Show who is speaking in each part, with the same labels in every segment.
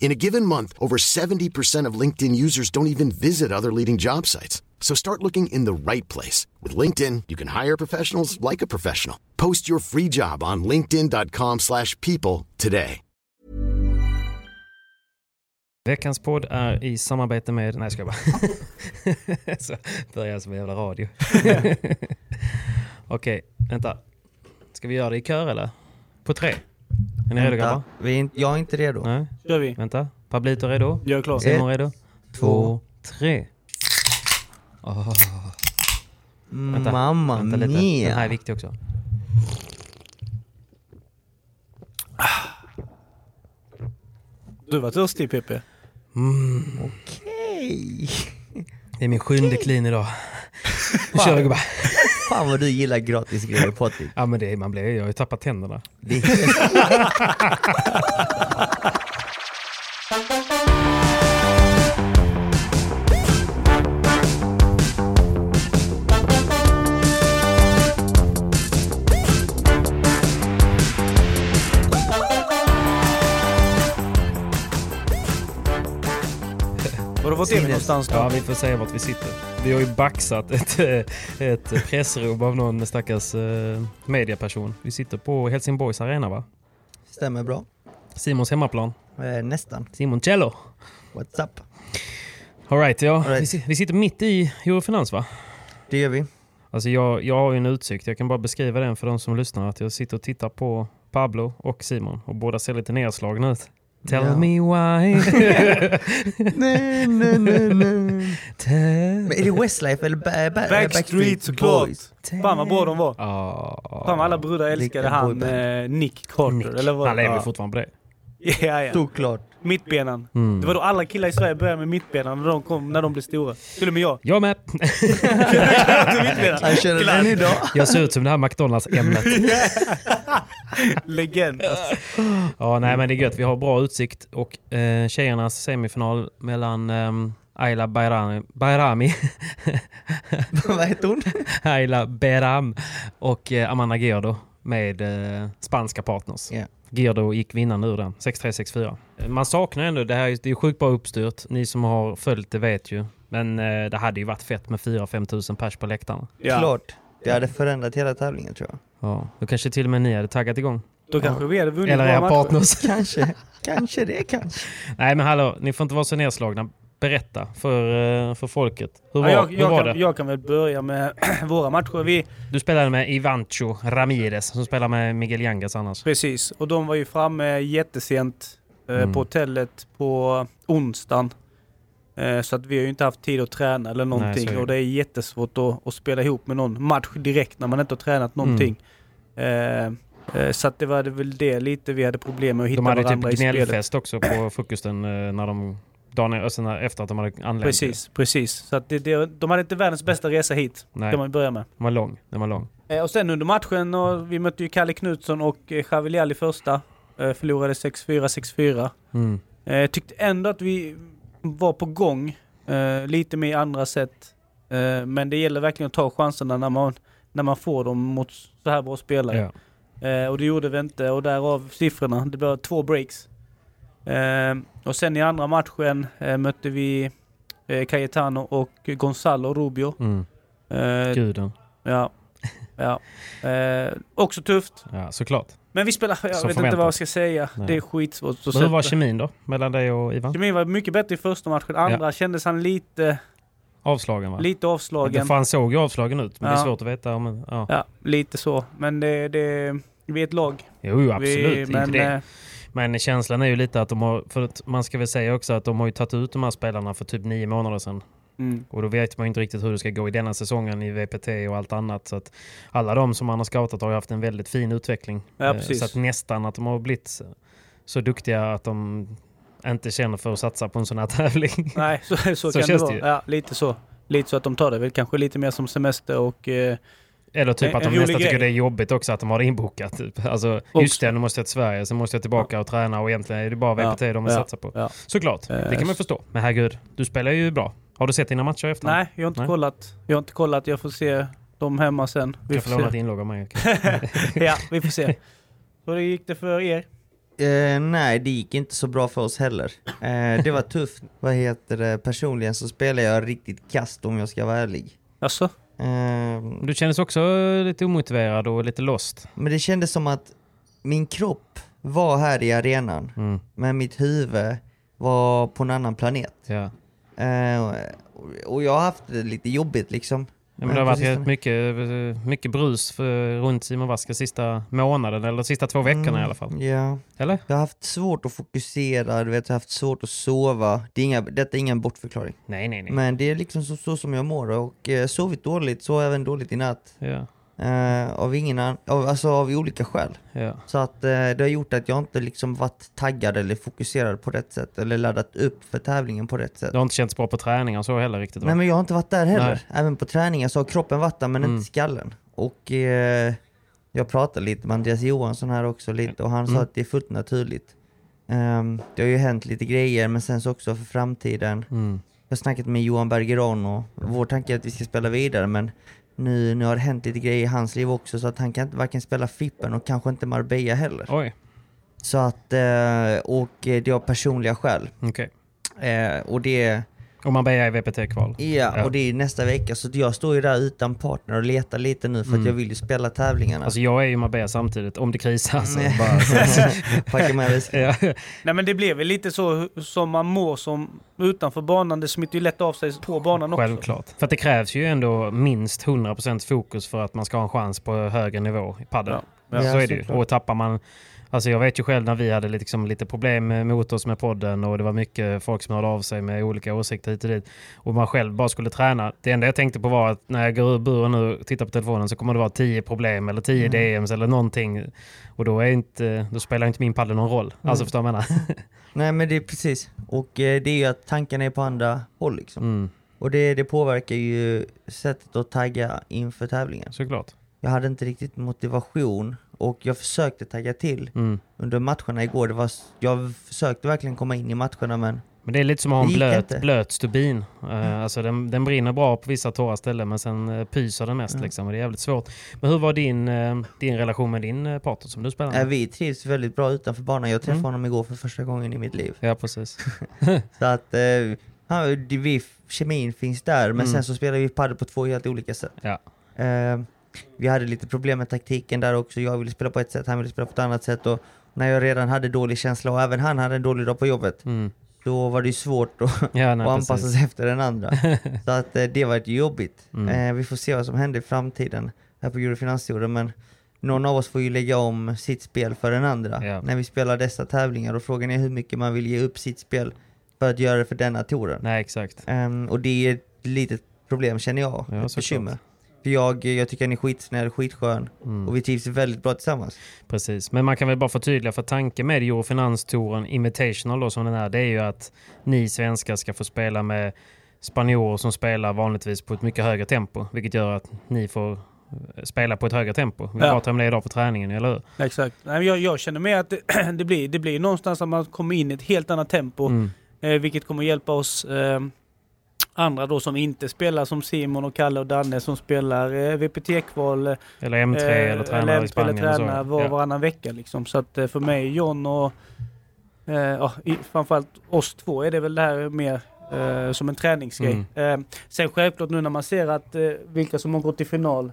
Speaker 1: In a given month, over 70% of LinkedIn users don't even visit other leading job sites. So start looking in the right place. With LinkedIn, you can hire professionals like a professional. Post your free job on linkedin.com/people slash people today.
Speaker 2: Veckans podd är i samarbete med... Nej, jag skojar bara. så börjar jag som en jävla radio. Okej, vänta. Ska vi göra det i kör eller? På tre? Är ni redo grabbar?
Speaker 3: Vänta, vi är inte, jag är inte redo.
Speaker 2: Nej,
Speaker 4: kör vi.
Speaker 2: vänta. Pablito redo?
Speaker 4: Jag är klar.
Speaker 2: Simon redo?
Speaker 3: två,
Speaker 2: tre. Åh, vänta.
Speaker 3: Mamma
Speaker 2: vänta lite.
Speaker 3: mia.
Speaker 2: Den här är viktig också.
Speaker 4: Du var törstig PP.
Speaker 3: Okej.
Speaker 2: Det är min sjunde clean idag. Nu kör vi gubbar.
Speaker 3: Fan vad du gillar gratis grejer Patrik.
Speaker 2: Ja men det är, man blir, jag har ju tappat tänderna.
Speaker 3: Det är helt-
Speaker 4: Har du fått in
Speaker 3: Sinnes.
Speaker 4: mig någonstans då?
Speaker 2: Ja, vi får säga vart vi sitter. Vi har ju baxat ett, eh, ett pressrum av någon stackars eh, mediaperson. Vi sitter på Helsingborgs arena va?
Speaker 3: Stämmer bra.
Speaker 2: Simons hemmaplan.
Speaker 3: Eh, nästan.
Speaker 2: Simon Cello.
Speaker 3: What's up?
Speaker 2: Alright, ja.
Speaker 3: All right.
Speaker 2: Vi, si- vi sitter mitt i Eurofinans va?
Speaker 3: Det gör vi.
Speaker 2: Alltså jag, jag har ju en utsikt. Jag kan bara beskriva den för de som lyssnar. Att jag sitter och tittar på Pablo och Simon och båda ser lite nedslagna ut. Tell
Speaker 3: Ja.
Speaker 2: me why.
Speaker 3: nej, nej, nej, nej.
Speaker 2: Tell-
Speaker 3: Men är det Westlife eller ba- ba-
Speaker 4: Backstreet såklart.
Speaker 3: Boys?
Speaker 4: Fan vad bra de var.
Speaker 2: Ah.
Speaker 4: Fan vad alla brudar älskade
Speaker 3: Vilken
Speaker 4: han
Speaker 3: boyband.
Speaker 4: eh, Nick Carter.
Speaker 2: Nick.
Speaker 4: Eller vad?
Speaker 2: Han lever ju
Speaker 4: Ja.
Speaker 2: fortfarande på det.
Speaker 4: Ja, ja.
Speaker 3: Såklart.
Speaker 4: Mittbenan.
Speaker 2: Mm.
Speaker 4: Det var då alla killar i Sverige började med mittbenan när de, kom, när de blev stora. Till och med jag. Alltså,
Speaker 2: Jag med.
Speaker 4: Till mittbenan.
Speaker 3: Han körde
Speaker 4: Glatt.
Speaker 3: den idag.
Speaker 2: Jag ser ut som det här McDonalds-ämnet.
Speaker 4: Legend.
Speaker 2: Ja,
Speaker 4: Mm.
Speaker 2: nej men det är gött. Vi har bra utsikt och eh, tjejernas semifinal mellan ehm, Ayla Bayrami, Bayrami
Speaker 3: vad heter hon?
Speaker 2: Ayla Beram och eh, Amanda Gerdo med eh, spanska partners.
Speaker 3: Ja.
Speaker 2: Gerdo gick vinnande ur den, 6-3, 6-4. Man saknar ändå, det här är- det är sjukt bra uppstyrt. Ni som har följt det vet ju. Men eh, det hade ju varit fett med 4-5 tusen pers på läktarna.
Speaker 4: Ja.
Speaker 3: Klart. Det hade förändrat hela tävlingen tror jag.
Speaker 2: Ja, då kanske till och med ni hade taggat igång.
Speaker 4: Då kanske vi hade vunnit
Speaker 2: Eller
Speaker 4: våra
Speaker 2: era
Speaker 4: matcher.
Speaker 2: partners.
Speaker 3: Kanske. kanske det kanske.
Speaker 2: Nej men hallå, ni får inte vara så nedslagna. Berätta för, eh, för folket. Hur var,
Speaker 4: Ja, jag,
Speaker 2: hur
Speaker 4: jag,
Speaker 2: var
Speaker 4: kan,
Speaker 2: det?
Speaker 4: jag kan väl börja med våra matcher. Vi,
Speaker 2: Du spelade med Ivancho Ramirez som spelar med Miguel Yangas annars.
Speaker 4: precis, och de var ju framme jättesent eh,
Speaker 2: Mm.
Speaker 4: på hotellet på onsdagen. Eh, så att vi har ju inte haft tid att träna eller någonting.
Speaker 2: så är det.
Speaker 4: och det är jättesvårt att, att spela ihop med någon match direkt när man inte har tränat någonting. Eh, eh, så att det var det väl det lite vi hade problem med att hitta
Speaker 2: De hade ju typ
Speaker 4: varandra i spelet.
Speaker 2: gnällfest också på frukosten eh, när de, dagen alltså när- efter att de hade anlänt.
Speaker 4: Precis, precis. Så att det, det, de hade inte världens bästa resa hit.
Speaker 2: Nej,
Speaker 4: Kan man
Speaker 2: den
Speaker 4: börja med.
Speaker 2: var lång. Den var lång.
Speaker 4: Eh, Och sen under matchen, och vi mötte ju Kalle Knutsson och eh, Chavelial i första. Eh, Förlorade 6-4, 6-4.
Speaker 2: Mm.
Speaker 4: Eh, Tyckte ändå att vi var på gång. eh, Lite mer i andra set. Eh, Men det gäller verkligen att ta chanserna när man, när man får dem mot så här bra spelare.
Speaker 2: Ja.
Speaker 4: Eh, och det gjorde vi inte och därav siffrorna. Det blev två breaks. Eh, och sen i andra matchen eh, mötte vi eh, Cayetano och Gonzalo Rubio.
Speaker 2: Mm.
Speaker 4: Eh,
Speaker 2: Guden.
Speaker 4: ja. ja. Eh, också tufft.
Speaker 2: Ja, såklart.
Speaker 4: Men vi spelar... Jag
Speaker 2: Som
Speaker 4: vet inte
Speaker 2: förväntat.
Speaker 4: vad jag ska säga.
Speaker 2: Nej.
Speaker 4: Det är skitsvårt att
Speaker 2: Men hur var
Speaker 4: sätta.
Speaker 2: kemin då? Mellan dig och Ivan?
Speaker 4: Kemin var mycket bättre i första matchen. Andra kändes han lite,
Speaker 2: Avslagen va?
Speaker 4: lite avslagen.
Speaker 2: Det fan såg ju avslagen ut, men det är
Speaker 4: Ja.
Speaker 2: svårt att veta om... Ja.
Speaker 4: Ja, lite så. Men det, det, vi är ett lag.
Speaker 2: Jo, jo, absolut. men,
Speaker 4: vi, men,
Speaker 2: inte det.
Speaker 4: eh,
Speaker 2: men känslan är ju lite att de har... För att man ska väl säga också att de har ju tagit ut de här spelarna för typ nio månader sedan.
Speaker 4: Mm.
Speaker 2: Och då vet man ju inte riktigt hur det ska gå i denna säsongen i VPT och allt annat. Så att alla de som man har scoutat har ju haft en väldigt fin utveckling.
Speaker 4: Ja,
Speaker 2: Eh,
Speaker 4: precis.
Speaker 2: Så att nästan att de har blivit så duktiga att de inte känner för att satsa på en sån här tävling.
Speaker 4: Nej, så, så,
Speaker 2: Så
Speaker 4: kan det
Speaker 2: känns
Speaker 4: vara.
Speaker 2: det ju.
Speaker 4: Ja, lite så. Lite så att de tar det väl kanske lite mer som semester och... Eh,
Speaker 2: Eller typ
Speaker 4: En-
Speaker 2: att de
Speaker 4: en rolig
Speaker 2: nästan tycker
Speaker 4: grej.
Speaker 2: det är jobbigt också att de har det inbokat. Typ. Alltså, just
Speaker 4: Också.
Speaker 2: det, nu måste jag till Sverige, sen måste jag tillbaka och träna och egentligen är det bara VPT de vill
Speaker 4: ja,
Speaker 2: satsa på.
Speaker 4: ja.
Speaker 2: Såklart,
Speaker 4: Eh,
Speaker 2: det kan man förstå. Men herregud, du spelar ju bra. Har du sett dina matcher efter?
Speaker 4: Nej, jag har inte
Speaker 2: Nej.
Speaker 4: kollat. Jag har inte kollat. Jag får se dem hemma sen.
Speaker 2: Du
Speaker 4: Vi
Speaker 2: kan
Speaker 4: får
Speaker 2: få låna
Speaker 4: se.
Speaker 2: din logga av mig.
Speaker 4: ja, vi får se. Hur gick det för er?
Speaker 3: Eh, nej, det gick inte så bra för oss heller. Eh, det var tufft. Vad heter det? Personligen så spelar jag riktigt kast om jag ska vara ärlig.
Speaker 4: Alltså,
Speaker 3: Eh,
Speaker 2: Du kändes också lite omotiverad och lite lost.
Speaker 3: Men det kändes som att min kropp var här i arenan,
Speaker 2: Mm.
Speaker 3: men mitt huvud var på en annan planet.
Speaker 2: Ja.
Speaker 3: Eh, och- och jag har haft det lite jobbigt liksom.
Speaker 2: Ja, men det har varit
Speaker 3: precis
Speaker 2: rätt mycket, mycket brus för, runt Simon Vaska sista månaden, eller sista två veckorna
Speaker 3: Mm.
Speaker 2: i alla fall.
Speaker 3: Ja.
Speaker 2: Eller?
Speaker 3: Jag har haft svårt att fokusera, du vet, jag har haft svårt att sova. Det är inga, detta är ingen bortförklaring.
Speaker 2: Nej, nej, nej.
Speaker 3: Men det är liksom så, så som jag mår och eh, sovit dåligt, sov även dåligt i natt.
Speaker 2: Ja,
Speaker 3: Eh, av, ingen an- av, alltså av olika skäl.
Speaker 2: ja.
Speaker 3: Så att eh, det har gjort att jag inte liksom varit taggad eller fokuserad på rätt sätt eller laddat upp för tävlingen på rätt sätt.
Speaker 2: Du har inte känts bra på träningar och så heller riktigt? va?
Speaker 3: Nej men jag har inte varit där heller. Även på träningar så har kroppen varit där men
Speaker 2: Mm.
Speaker 3: inte skallen. Och eh, jag pratade lite med Andreas Johansson här också lite och han sa
Speaker 2: Mm.
Speaker 3: att det är fullt naturligt. Ehm, det har ju hänt lite grejer men sen så också för framtiden.
Speaker 2: Mm.
Speaker 3: Jag har snackat med Johan Bergeron och vår tanke är att vi ska spela vidare men nu, nu har det hänt lite grejer i hans liv också så att han kan inte varken spela Fippen och kanske inte Marbella heller.
Speaker 2: Oj,
Speaker 3: Så att, eh, och eh, det har personliga skäl.
Speaker 2: okej.
Speaker 3: Eh, och det
Speaker 2: Och Marbella i VPT-kval?
Speaker 3: Ja,
Speaker 2: Ja.
Speaker 3: och det är ju nästa vecka. Så jag står ju där utan partner och letar lite nu för att jag vill ju spela tävlingarna.
Speaker 2: Mm. Alltså jag är ju Marbella samtidigt, om det krisar så
Speaker 3: Nej.
Speaker 2: bara... Så,
Speaker 3: Packa med väskan.
Speaker 2: ja.
Speaker 4: nej men det blev väl lite så hu- som man mår som utanför banan. Det smittar ju lätt av sig på banan också.
Speaker 2: Självklart. För att det krävs ju ändå minst 100% fokus för att man ska ha en chans på högre nivå i padel.
Speaker 4: Ja.
Speaker 2: Ja,
Speaker 3: Ja,
Speaker 2: så är det ju.
Speaker 3: såklart.
Speaker 2: Och tappar man... Alltså jag vet ju själv när vi hade liksom lite problem mot oss med podden och det var mycket folk som hörde av sig med olika åsikter hit och dit. Och man själv bara skulle träna. Det enda jag tänkte på var att när jag går ur buren nu och tittar på telefonen så kommer det vara 10 problem eller 10 DMs eller någonting. Och då, är inte, då spelar inte min padel någon roll. Alltså förstår du vad jag menar?
Speaker 3: Nej men det är precis. Och eh, det är ju att tankarna är på andra håll liksom.
Speaker 2: Mm,
Speaker 3: Och det, det påverkar ju sättet att tagga inför tävlingen.
Speaker 2: såklart.
Speaker 3: Jag hade inte riktigt motivation och jag försökte tagga till
Speaker 2: Mm.
Speaker 3: under matcherna igår. Det var, s- jag försökte verkligen komma in i matcherna men
Speaker 2: Men det är lite som att ha
Speaker 3: Det
Speaker 2: en
Speaker 3: gick
Speaker 2: blöt,
Speaker 3: inte. Mm.
Speaker 2: blöt stubin. Eh, alltså den, den brinner bra på vissa torra ställen men sen eh, pyser den
Speaker 3: Mm.
Speaker 2: mest. Liksom, och det är jävligt svårt. Men hur var din, eh, din relation med din eh, partner som du spelar
Speaker 3: eh,
Speaker 2: med?
Speaker 3: vi trivs väldigt bra utanför banan. Jag träffade
Speaker 2: Mm.
Speaker 3: honom igår för första gången i mitt liv.
Speaker 2: Ja, precis.
Speaker 3: Så att eh, han, det- vi, kemin finns där, men
Speaker 2: Mm.
Speaker 3: sen så spelar vi padel på två helt olika sätt.
Speaker 2: Ja.
Speaker 3: Eh, vi hade lite problem med taktiken där också. Jag ville spela på ett sätt, han ville spela på ett annat sätt. Och när jag redan hade dålig känsla och även han hade en dålig dag på jobbet,
Speaker 2: Mm.
Speaker 3: då var det ju svårt att,
Speaker 2: Ja, nej,
Speaker 3: att anpassa
Speaker 2: precis.
Speaker 3: sig efter den andra. så att eh, det var ju jobbigt.
Speaker 2: Mm.
Speaker 3: Eh, vi får se vad som händer i framtiden här på Eurofinanstouren, men någon av oss får ju lägga om sitt spel för den andra
Speaker 2: Ja.
Speaker 3: när vi spelar dessa tävlingar och frågan är hur mycket man vill ge upp sitt spel för att göra det för denna touren.
Speaker 2: Nej, exakt.
Speaker 3: Ehm, och det är ett litet problem känner jag,
Speaker 2: Ja,
Speaker 3: ett
Speaker 2: såklart.
Speaker 3: bekymmer. För jag, jag tycker han är skitsnäll, skitskön
Speaker 2: Mm.
Speaker 3: och vi trivs väldigt bra tillsammans.
Speaker 2: Precis. Men man kan väl bara förtydliga, för tanken med Eurofinanstouren Invitational då, som den är, det är ju att ni svenskar ska få spela med spanjorer som spelar vanligtvis på ett mycket högre tempo, vilket gör att ni får eh, spela på ett högre tempo. Vi
Speaker 4: Ja.
Speaker 2: pratade om det idag på träningen, eller hur?
Speaker 4: Exakt. Nej, men jag, jag känner med att det, det, blir, det blir någonstans att man kommer in i ett helt annat tempo.
Speaker 2: Mm.
Speaker 4: Eh, vilket kommer hjälpa oss eh, Andra då som inte spelar som Simon och Kalle och Danne som spelar eh, VPT-kval eh,
Speaker 2: Eller M3 eller
Speaker 4: Eh,
Speaker 2: tränare i
Speaker 4: lämp
Speaker 2: Spanien.
Speaker 4: Eller tränare
Speaker 2: och så.
Speaker 4: var
Speaker 2: Ja.
Speaker 4: varannan vecka liksom. Så att eh, för mig, John och eh, ja, i- framförallt oss två är det väl det här mer eh, som en träningsgrej.
Speaker 2: Mm.
Speaker 4: Eh, sen självklart nu när man ser att eh, vilka som har gått till final. Eh,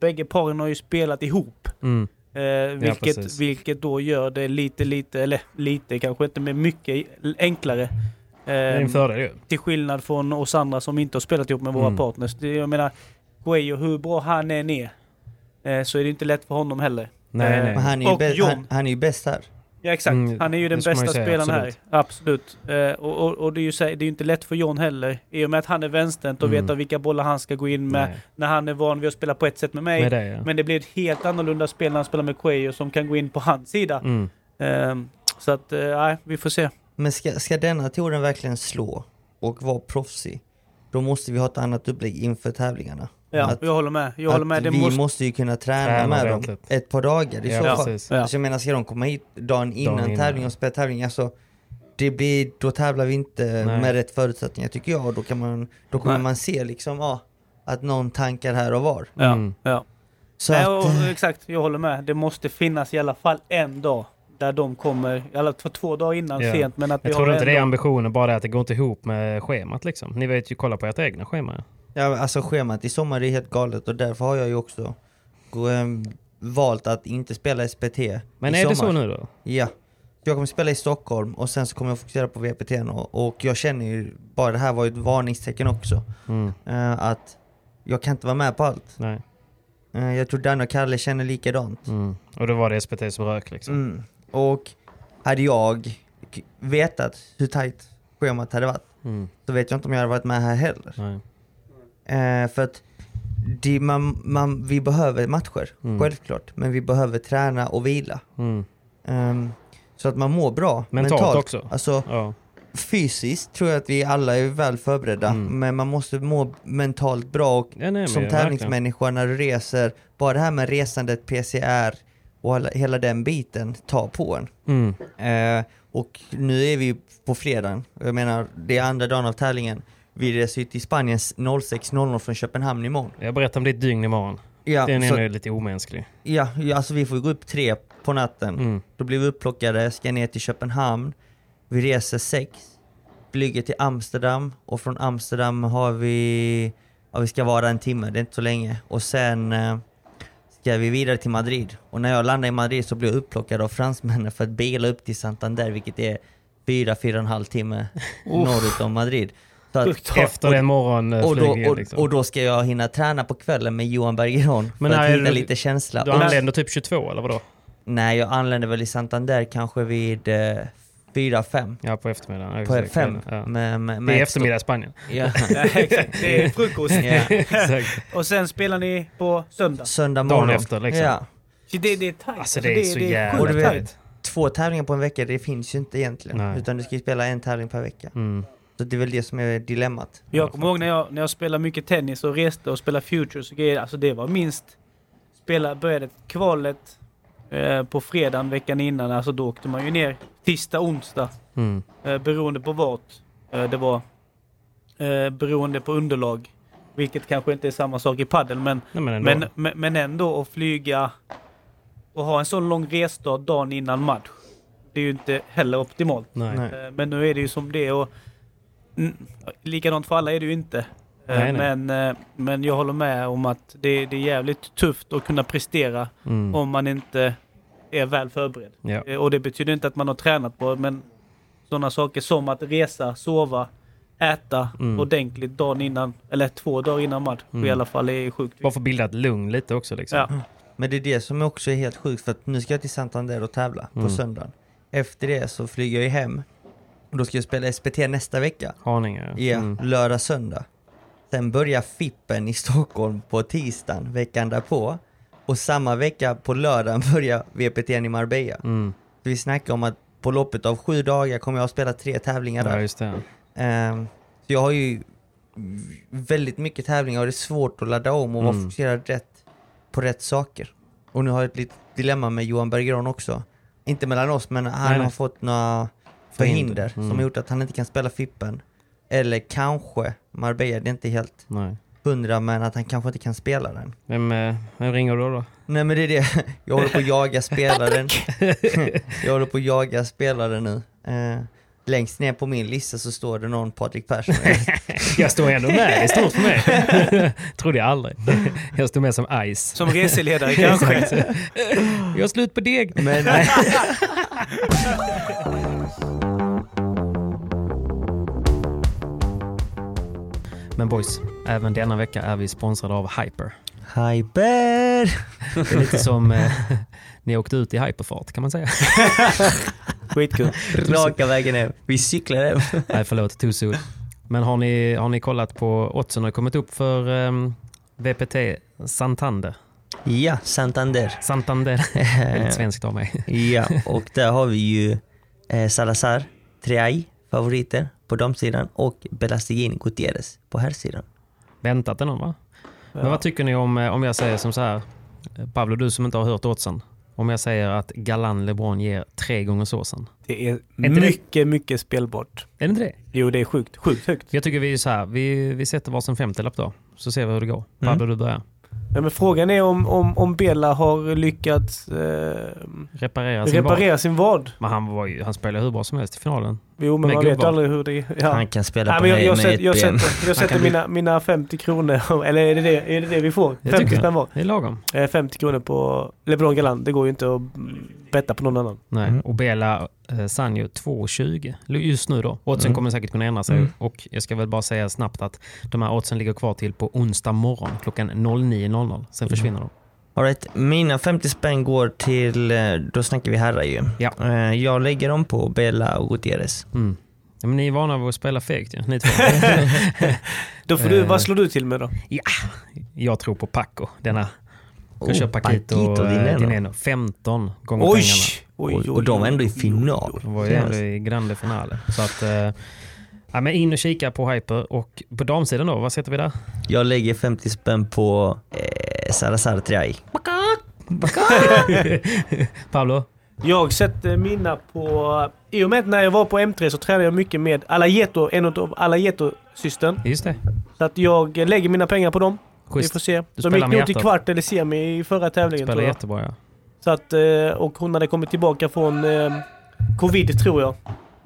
Speaker 4: bägge paren har ju spelat ihop.
Speaker 2: Mm.
Speaker 4: Eh, vilket,
Speaker 2: precis.
Speaker 4: vilket då gör det lite, lite, eller lite kanske inte, men mycket enklare.
Speaker 2: Det är
Speaker 4: Ehm,
Speaker 2: en fördel ju.
Speaker 4: till skillnad från oss andra som inte har spelat ihop med våra
Speaker 2: Mm.
Speaker 4: partners. Det- Jag menar, Guayo, hur bra han än är, eh, så är det inte lätt för honom heller.
Speaker 2: Nej,
Speaker 4: Eh,
Speaker 2: nej.
Speaker 3: Men han är ju,
Speaker 4: Och
Speaker 3: bäst,
Speaker 4: John.
Speaker 3: han, han är ju bäst här.
Speaker 4: Ja exakt,
Speaker 2: Mm,
Speaker 4: han är ju den
Speaker 2: det ska man
Speaker 4: bästa
Speaker 2: ju säga,
Speaker 4: spelaren här.
Speaker 2: absolut.
Speaker 4: Absolut. Eh, och och, och det, är ju, så- det är ju inte lätt för John heller, i och med att han är vänsterhänt och
Speaker 2: Mm.
Speaker 4: vet vilka bollar han ska gå in med.
Speaker 2: Nej.
Speaker 4: När han är van vid att spela på ett sätt med mig.
Speaker 2: Med det ja.
Speaker 4: Men det blir ett helt annorlunda spel när han spelar med Guayo som kan gå in på hans sida.
Speaker 2: Mm.
Speaker 4: Eh, så att, eh, nej, vi får se.
Speaker 3: Men ska, ska denna touren verkligen slå och vara proffsig, då måste vi ha ett annat upplägg inför tävlingarna.
Speaker 4: Ja,
Speaker 3: Att-
Speaker 4: jag håller med. Jag håller med.
Speaker 3: att
Speaker 4: Det
Speaker 3: vi måste...
Speaker 4: måste...
Speaker 3: ju kunna träna,
Speaker 2: Träna
Speaker 3: med dem
Speaker 2: ordentligt.
Speaker 3: ett par dagar i
Speaker 2: Ja,
Speaker 3: så fall.
Speaker 2: precis.
Speaker 4: Ja.
Speaker 3: Alltså, jag menar, ska de komma hit dagen innan,
Speaker 2: innan.
Speaker 3: tävlingen och spela tävling, alltså det blir, då tävlar vi inte
Speaker 2: Nej.
Speaker 3: med rätt förutsättningar tycker jag. Och Då, kan man, då kommer
Speaker 4: Nej.
Speaker 3: man se liksom, ja, att någon tankar här och var.
Speaker 4: Ja,
Speaker 2: Mm.
Speaker 4: ja.
Speaker 3: Så
Speaker 4: Nej,
Speaker 3: att,
Speaker 4: och, exakt, jag håller med. Det måste finnas i alla fall en dag där de kommer, eller för två dagar innan
Speaker 2: Ja.
Speaker 4: sent. Men att vi
Speaker 2: Jag tror
Speaker 4: har
Speaker 2: du inte
Speaker 4: en
Speaker 2: det är
Speaker 4: dag-
Speaker 2: ambitionen, bara det att det går inte ihop med schemat liksom. Ni vet ju, kolla på ert egna schema.
Speaker 3: Ja, alltså schemat i sommar är helt galet och därför har jag ju också gå- ehm, valt att inte spela SPT
Speaker 2: Men
Speaker 3: i
Speaker 2: är det
Speaker 3: sommar.
Speaker 2: så nu då?
Speaker 3: Ja. Jag kommer spela i Stockholm och sen så kommer jag fokusera på VPT och, och jag känner ju bara det här var ju ett varningstecken också.
Speaker 2: Mm.
Speaker 3: Eh, att jag kan inte vara med på allt.
Speaker 2: Nej.
Speaker 3: Eh, jag tror Dan och Kalle känner likadant.
Speaker 2: Mm. Och då var det SPT som rök liksom.
Speaker 3: Mm. Och hade jag k- vetat hur tajt schemat hade varit
Speaker 2: Mm.
Speaker 3: så vet jag inte om jag hade varit med här heller.
Speaker 2: Nej.
Speaker 3: Eh, för att det, man, man, vi behöver matcher,
Speaker 2: Mm.
Speaker 3: självklart. Men vi behöver träna och vila.
Speaker 2: Mm.
Speaker 3: Ehm, så att man mår bra
Speaker 2: Mentalt också.
Speaker 3: Alltså,
Speaker 2: Ja.
Speaker 3: fysiskt tror jag att vi alla är väl förberedda,
Speaker 2: Mm.
Speaker 3: men man måste må mentalt bra och
Speaker 2: Ja, nej, men
Speaker 3: som
Speaker 2: verkligen.
Speaker 3: tävlingsmänniska när du reser, bara det här med resandet, PCR och alla, hela den biten tar på en.
Speaker 2: Mm.
Speaker 3: Eh, och nu är vi på fredagen, jag menar det är andra dagen av tävlingen. Vi reser ju till Spanien 06.00 från Köpenhamn imorgon.
Speaker 2: Jag berättar om ditt dygn imorgon.
Speaker 3: Ja,
Speaker 2: Den är
Speaker 3: så,
Speaker 2: nu lite omänsklig.
Speaker 3: ja, ja, alltså vi får ju gå upp tre på natten.
Speaker 2: Mm.
Speaker 3: Då blir vi upplockade, ska ner till Köpenhamn. Vi reser sex, flyger till Amsterdam och från Amsterdam har vi, ja vi ska vara en timme, det är inte så länge. Och sen eh, ska vi vidare till Madrid. Och när jag landar i Madrid så blir jag upplockad av fransmännen för att bila upp till Santander, vilket är fyra, fyra och en halv timme norrut om Madrid. Så att,
Speaker 4: Sjukt.
Speaker 2: Efter
Speaker 3: och-
Speaker 2: den
Speaker 3: och då,
Speaker 2: morgonflygningen
Speaker 3: och,
Speaker 2: liksom.
Speaker 3: och då ska jag hinna träna på kvällen med Johan Bergeron för
Speaker 2: Men
Speaker 3: att
Speaker 2: när är
Speaker 3: hitta
Speaker 2: du-
Speaker 3: lite känsla.
Speaker 2: Du
Speaker 3: Och-
Speaker 2: anländer typ 22 eller vadå?
Speaker 3: Nej, jag anlände väl i Santander kanske vid eh, 4-5.
Speaker 2: Ja, på eftermiddagen. Ja,
Speaker 3: På
Speaker 2: exakt.
Speaker 3: 5.
Speaker 2: Ja.
Speaker 3: Med, med,
Speaker 2: Det
Speaker 3: med
Speaker 2: är eftermiddag i Spanien.
Speaker 3: Ja.
Speaker 4: Ja, exakt. Det är frukost.
Speaker 3: Ja.
Speaker 2: Exakt.
Speaker 4: Och sen spelar ni på söndag.
Speaker 3: Söndag
Speaker 2: Dagen
Speaker 3: morgon.
Speaker 2: efter, liksom.
Speaker 3: Ja.
Speaker 4: Så Det, det är tajt.
Speaker 2: Alltså det är så jävla
Speaker 3: Och du
Speaker 4: sjukt tajt.
Speaker 3: vet, två tävlingar på en vecka, det finns ju inte egentligen.
Speaker 2: Nej.
Speaker 3: Utan du ska ju spela en tävling per vecka.
Speaker 2: Mm.
Speaker 3: Så det är väl det som är dilemmat.
Speaker 4: Jag kommer ihåg när jag, när jag spelade mycket tennis och reste och spelade futures och grejer. Alltså det var minst... Spela, började kvalet eh, på fredagen veckan innan. Alltså då åkte man ju ner tisdag, onsdag.
Speaker 2: Mm.
Speaker 4: Eh, beroende på vart eh, det var. Eh, beroende på underlag. Vilket kanske inte är samma sak i padel men,
Speaker 2: Nej, men ändå.
Speaker 4: men, men, men ändå att flyga och ha en sån lång resdag dagen innan match. Det är ju inte heller optimalt.
Speaker 2: Nej.
Speaker 3: Nej.
Speaker 4: Eh, Men nu är det ju som det är och mm, likadant för alla är det ju inte. Eh,
Speaker 2: Nej, nej.
Speaker 4: Men, eh, men jag håller med om att det, det är jävligt tufft att kunna prestera
Speaker 2: Mm.
Speaker 4: om man inte är väl förberedd.
Speaker 2: Ja.
Speaker 4: Eh, Och det betyder inte att man har tränat på men sådana saker som att resa, sova, äta
Speaker 2: Mm.
Speaker 4: ordentligt dagen innan, eller två dagar innan match
Speaker 2: Mm.
Speaker 4: i alla fall, är sjukt
Speaker 2: Bara
Speaker 4: viktigt.
Speaker 2: för att bilda ett lugn lite också liksom.
Speaker 4: Ja.
Speaker 3: Men det är det som också är helt sjukt för att nu ska jag till Santander och tävla
Speaker 2: Mm.
Speaker 3: på söndagen. Efter det så flyger jag ju hem. Och då ska jag spela SPT nästa vecka.
Speaker 2: Haninge.
Speaker 3: Ja,
Speaker 2: Mm.
Speaker 3: lördag, söndag. Sen börjar Fippen i Stockholm på tisdagen veckan därpå. Och samma vecka på lördagen börjar VPT i Marbella.
Speaker 2: Mm.
Speaker 3: Vi snackar om att på loppet av sju dagar kommer jag att spela tre tävlingar
Speaker 2: Ja,
Speaker 3: där.
Speaker 2: just det.
Speaker 3: Ehm, så jag har ju v- väldigt mycket tävlingar och det är svårt att ladda om och vara
Speaker 2: Mm.
Speaker 3: fokuserad rätt på rätt saker. Och nu har jag ett litet dilemma med Johan Bergeron också. Inte mellan oss men han
Speaker 2: Nej, nej.
Speaker 3: har fått några förhinder
Speaker 2: Förhinder. Mm.
Speaker 3: som har gjort att han inte kan spela Fippen. Eller kanske Marbella, det är inte helt
Speaker 2: Nej.
Speaker 3: hundra, men att han kanske inte kan spela den.
Speaker 2: Vem, eh, vem ringer du då?
Speaker 3: Nej men det är det, jag håller på att jaga spelaren. jag håller på att jaga spelaren nu. Eh, längst ner på min lista så står det någon Patrik Persson.
Speaker 2: Jag står ändå med, det är stort för mig. Trodde jag aldrig. Jag står med som ice.
Speaker 4: Som reseledare kanske.
Speaker 2: Jag har slut på deg.
Speaker 3: men,
Speaker 2: Men boys, även denna vecka är vi sponsrade av Hyper.
Speaker 3: Hyper!
Speaker 2: Det är lite som eh, ni åkte ut i hyperfart kan man säga.
Speaker 4: Skitkul.
Speaker 3: Raka vägen hem. Vi cyklar hem.
Speaker 2: Nej förlåt, too soon. Men har ni, har ni kollat på oddsen har kommit upp för ehm, VPT Santander?
Speaker 3: Ja, Santander.
Speaker 2: Santander. Väldigt svenskt av mig.
Speaker 3: Ja, och där har vi ju eh, Salazar, Triay, favoriter på damsidan och Belastigin Gutierrez på herrsidan.
Speaker 2: Väntat ändå va? Men vad tycker ni om, eh, om jag säger som så här, eh, Pablo du som inte har hört oddsen. Om jag säger att Galan LeBron ger tre gånger såsen.
Speaker 4: Det är
Speaker 2: det-
Speaker 4: mycket, mycket spelbart.
Speaker 2: Är det inte det?
Speaker 4: Jo, det är sjukt. Sjukt högt.
Speaker 2: Jag tycker vi är så här, vi, vi sätter varsin femtiolapp då. Så ser vi hur det går.
Speaker 3: Mm.
Speaker 2: Pablo du börjar.
Speaker 4: Ja, men frågan är om, om, om Bella har lyckats eh,
Speaker 2: Reparera sin bar.
Speaker 4: reparera sin vad.
Speaker 2: Men han, var ju, han spelade hur bra som helst i finalen.
Speaker 4: Jo, men
Speaker 2: Med
Speaker 4: man vet
Speaker 2: gubbar.
Speaker 4: aldrig hur det är. Ja.
Speaker 3: Han kan spela
Speaker 4: Nej,
Speaker 3: på
Speaker 4: men jag,
Speaker 3: mig
Speaker 4: jag,
Speaker 3: med
Speaker 4: sätter, jag,
Speaker 3: ett ben.
Speaker 4: sätter, jag sätter
Speaker 2: kan
Speaker 4: mina, mina 50 kronor, eller är det det, är det, det vi får?
Speaker 2: Jag
Speaker 4: 50
Speaker 2: tycker
Speaker 4: spänn var.
Speaker 2: Det är lagom.
Speaker 4: Eh, 50 kronor på LeBron Galan. Det går ju inte att betta på någon annan.
Speaker 2: Nej.
Speaker 3: Mm.
Speaker 2: Och Bela eh, Sanjo 2,20 L- just nu då. Oddsen
Speaker 3: Mm.
Speaker 2: kommer säkert kunna ändra sig.
Speaker 3: Mm.
Speaker 2: Och jag ska väl bara säga snabbt att de här oddsen ligger kvar till på onsdag morgon klockan 09.00. Sen försvinner de.
Speaker 3: All right, mina 50 spänn går till, eh, då snackar vi herrar ju.
Speaker 2: Ja.
Speaker 3: Eh, Jag lägger dem på Bella och Gutierrez.
Speaker 2: Mm. Ja, men ni är vana vid att spela fegt ju, ni två.
Speaker 4: Då får du,
Speaker 2: Eh.
Speaker 4: vad slår du till med då?
Speaker 2: Jag tror på Paco, denna. Jag
Speaker 3: Oh,
Speaker 2: kör Paquito,
Speaker 3: Paquito,
Speaker 2: eh,
Speaker 3: Dineno.
Speaker 2: Dineno. 15 gånger
Speaker 4: Oj!
Speaker 2: pengarna.
Speaker 4: Oj,
Speaker 3: Och, och de var ändå i final.
Speaker 2: De var ju ändå i grande finale. Så att, eh, ja, men in och kika på Hyper. Och på damsidan då, vad sätter vi där?
Speaker 3: Jag lägger 50 spänn på eh, Salazar Triay.
Speaker 2: Pablo?
Speaker 4: Jag sätter mina på... I och med att när jag var på M3 så tränade jag mycket med Alayeto, en av Alayeto-systern.
Speaker 2: Just det.
Speaker 4: Så att jag lägger mina pengar på dem. Vi
Speaker 2: Schysst.
Speaker 4: får se. De
Speaker 2: spelar
Speaker 4: gick
Speaker 2: med
Speaker 4: nog till
Speaker 2: hjärtat.
Speaker 4: kvart eller semi i förra tävlingen
Speaker 2: Spelar
Speaker 4: tror jag.
Speaker 2: jättebra ja.
Speaker 4: Så att, eh, och hon hade kommit tillbaka från eh, covid tror jag.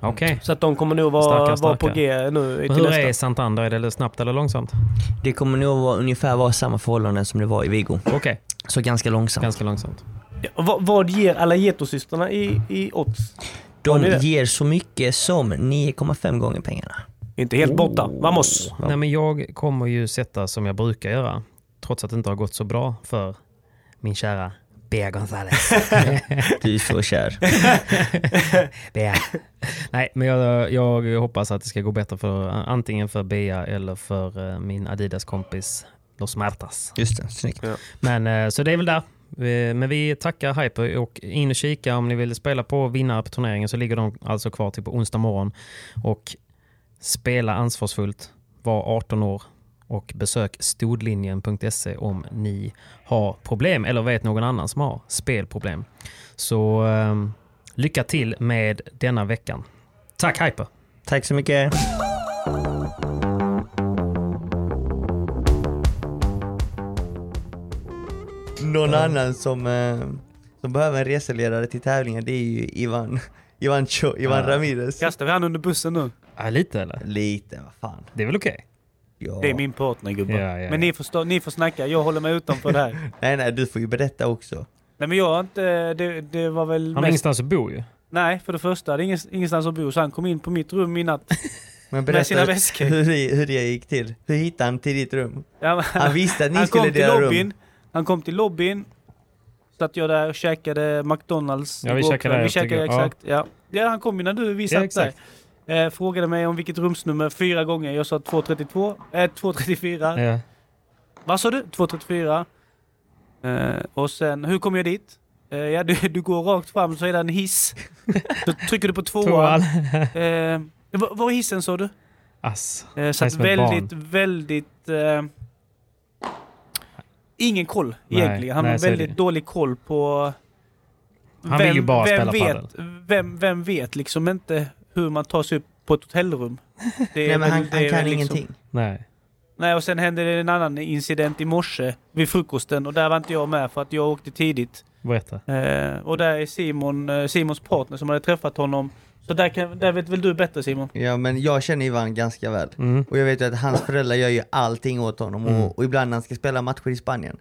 Speaker 2: Okej.
Speaker 4: Så att de kommer nog vara,
Speaker 2: Starka,
Speaker 4: vara på
Speaker 2: starka.
Speaker 4: G
Speaker 2: Men
Speaker 4: nu till
Speaker 2: Hur är
Speaker 4: nästa.
Speaker 2: Santander? Är det snabbt eller långsamt?
Speaker 3: Det kommer nog vara, ungefär vara samma förhållanden som det var i Vigo.
Speaker 2: Okej,
Speaker 3: Så ganska långsamt.
Speaker 2: ganska långsamt.
Speaker 4: Ja, och vad, vad ger Alayeto-systrarna i, i odds? Ja, det
Speaker 3: De
Speaker 4: är det.
Speaker 3: ger så mycket som 9,5 gånger pengarna.
Speaker 4: Inte helt borta. Vamos!
Speaker 2: Nej, men jag kommer ju sätta som jag brukar göra, trots att det inte har gått så bra för min kära Bea Gonzales.
Speaker 3: Du är så kär.
Speaker 2: Bea. Nej, men jag, jag hoppas att det ska gå bättre för antingen för Bea eller för eh, min Adidas-kompis Los Martas.
Speaker 3: Just det, snyggt.
Speaker 2: Men eh, så det är väl där. Eh, Men vi tackar Hyper och in och kika om ni vill spela på vinnare på turneringen så ligger de alltså kvar till på onsdag morgon. Och spela ansvarsfullt, var 18 år och besök stodlinjen.se om ni har problem eller vet någon annan som har spelproblem. Så eh, lycka till med denna veckan. Tack Hyper!
Speaker 3: Tack så mycket. Någon annan som, eh, som behöver en reseledare till tävlingen det är ju Ivan, Ivan, Cho, Ivan
Speaker 2: Ja.
Speaker 3: Ramirez.
Speaker 4: Kastar vi han under bussen nu?
Speaker 2: Ja, lite eller?
Speaker 3: Lite, vad fan.
Speaker 2: Det är väl okej?
Speaker 3: Ja.
Speaker 4: Det är min partner gubbar.
Speaker 2: Ja, ja,
Speaker 4: Men
Speaker 2: ja.
Speaker 4: ni får, stå, ni får snacka, jag håller mig utanför det här.
Speaker 3: Nej, nej, du får ju berätta också.
Speaker 4: Nej men jag har inte... Det, det var väl
Speaker 2: Han har
Speaker 4: mest...
Speaker 2: ingenstans att bo ju.
Speaker 4: Nej, för det första, det är ingen, ingenstans att bo. Så han kom in på mitt rum i natt.
Speaker 3: Men
Speaker 4: Med sina
Speaker 3: berätta
Speaker 4: väskor.
Speaker 3: hur, det- hur det gick till. Hur hittade han till ditt rum?
Speaker 4: Ja, men-
Speaker 3: Han visste att ni
Speaker 4: han
Speaker 3: skulle
Speaker 4: kom till
Speaker 3: dela rum.
Speaker 4: lobbyn. Han kom till lobbyn. Satt jag där och käkade McDonalds
Speaker 2: Ja, vi
Speaker 4: igår
Speaker 2: käkade
Speaker 4: kväll.
Speaker 2: där
Speaker 4: Vi käkade
Speaker 2: efter- ja.
Speaker 4: exakt. Ja. ja, han kom ju när du vi
Speaker 2: Ja,
Speaker 4: satt där. Eh, frågade mig om vilket rumsnummer fyra gånger. Jag sa 232. Eh, 234.
Speaker 2: Ja.
Speaker 4: Vad sa du? 234. Eh, och sen, hur kom jag dit? Eh, ja, du, du går rakt fram så är det en hiss. Då trycker du på tvåan.
Speaker 2: Tvåan.
Speaker 4: Eh, var, var är hissen sa du?
Speaker 2: Ass.
Speaker 4: Eh, så
Speaker 2: är
Speaker 4: att
Speaker 2: som ett barn.
Speaker 4: väldigt, väldigt... Eh, ingen koll
Speaker 2: Nej,
Speaker 4: egentligen. Han
Speaker 2: nej,
Speaker 4: har
Speaker 2: så är det
Speaker 4: väldigt
Speaker 2: ju.
Speaker 4: dålig koll på...
Speaker 2: Han vill ju bara spela
Speaker 4: vet,
Speaker 2: padel.
Speaker 4: vem, vem vet liksom inte hur man tar sig upp på ett hotellrum. Det
Speaker 3: Nej
Speaker 4: är
Speaker 3: men
Speaker 4: väl-
Speaker 3: han,
Speaker 4: det
Speaker 3: han
Speaker 4: är
Speaker 3: kan
Speaker 4: väl liksom-
Speaker 3: ingenting.
Speaker 2: Nej.
Speaker 4: Nej, och sen hände det en annan incident i morse vid frukosten och där var inte jag med för att jag åkte tidigt.
Speaker 2: Berätta.
Speaker 4: Eh, och där är Simon, eh, Simons partner som hade träffat honom. Så där, kan, där vet väl du bättre Simon?
Speaker 3: Ja men jag känner Ivan ganska väl.
Speaker 2: Mm.
Speaker 3: Och jag vet ju att hans föräldrar gör ju allting åt honom
Speaker 4: Mm.
Speaker 3: och, och ibland när han ska spela matcher i Spanien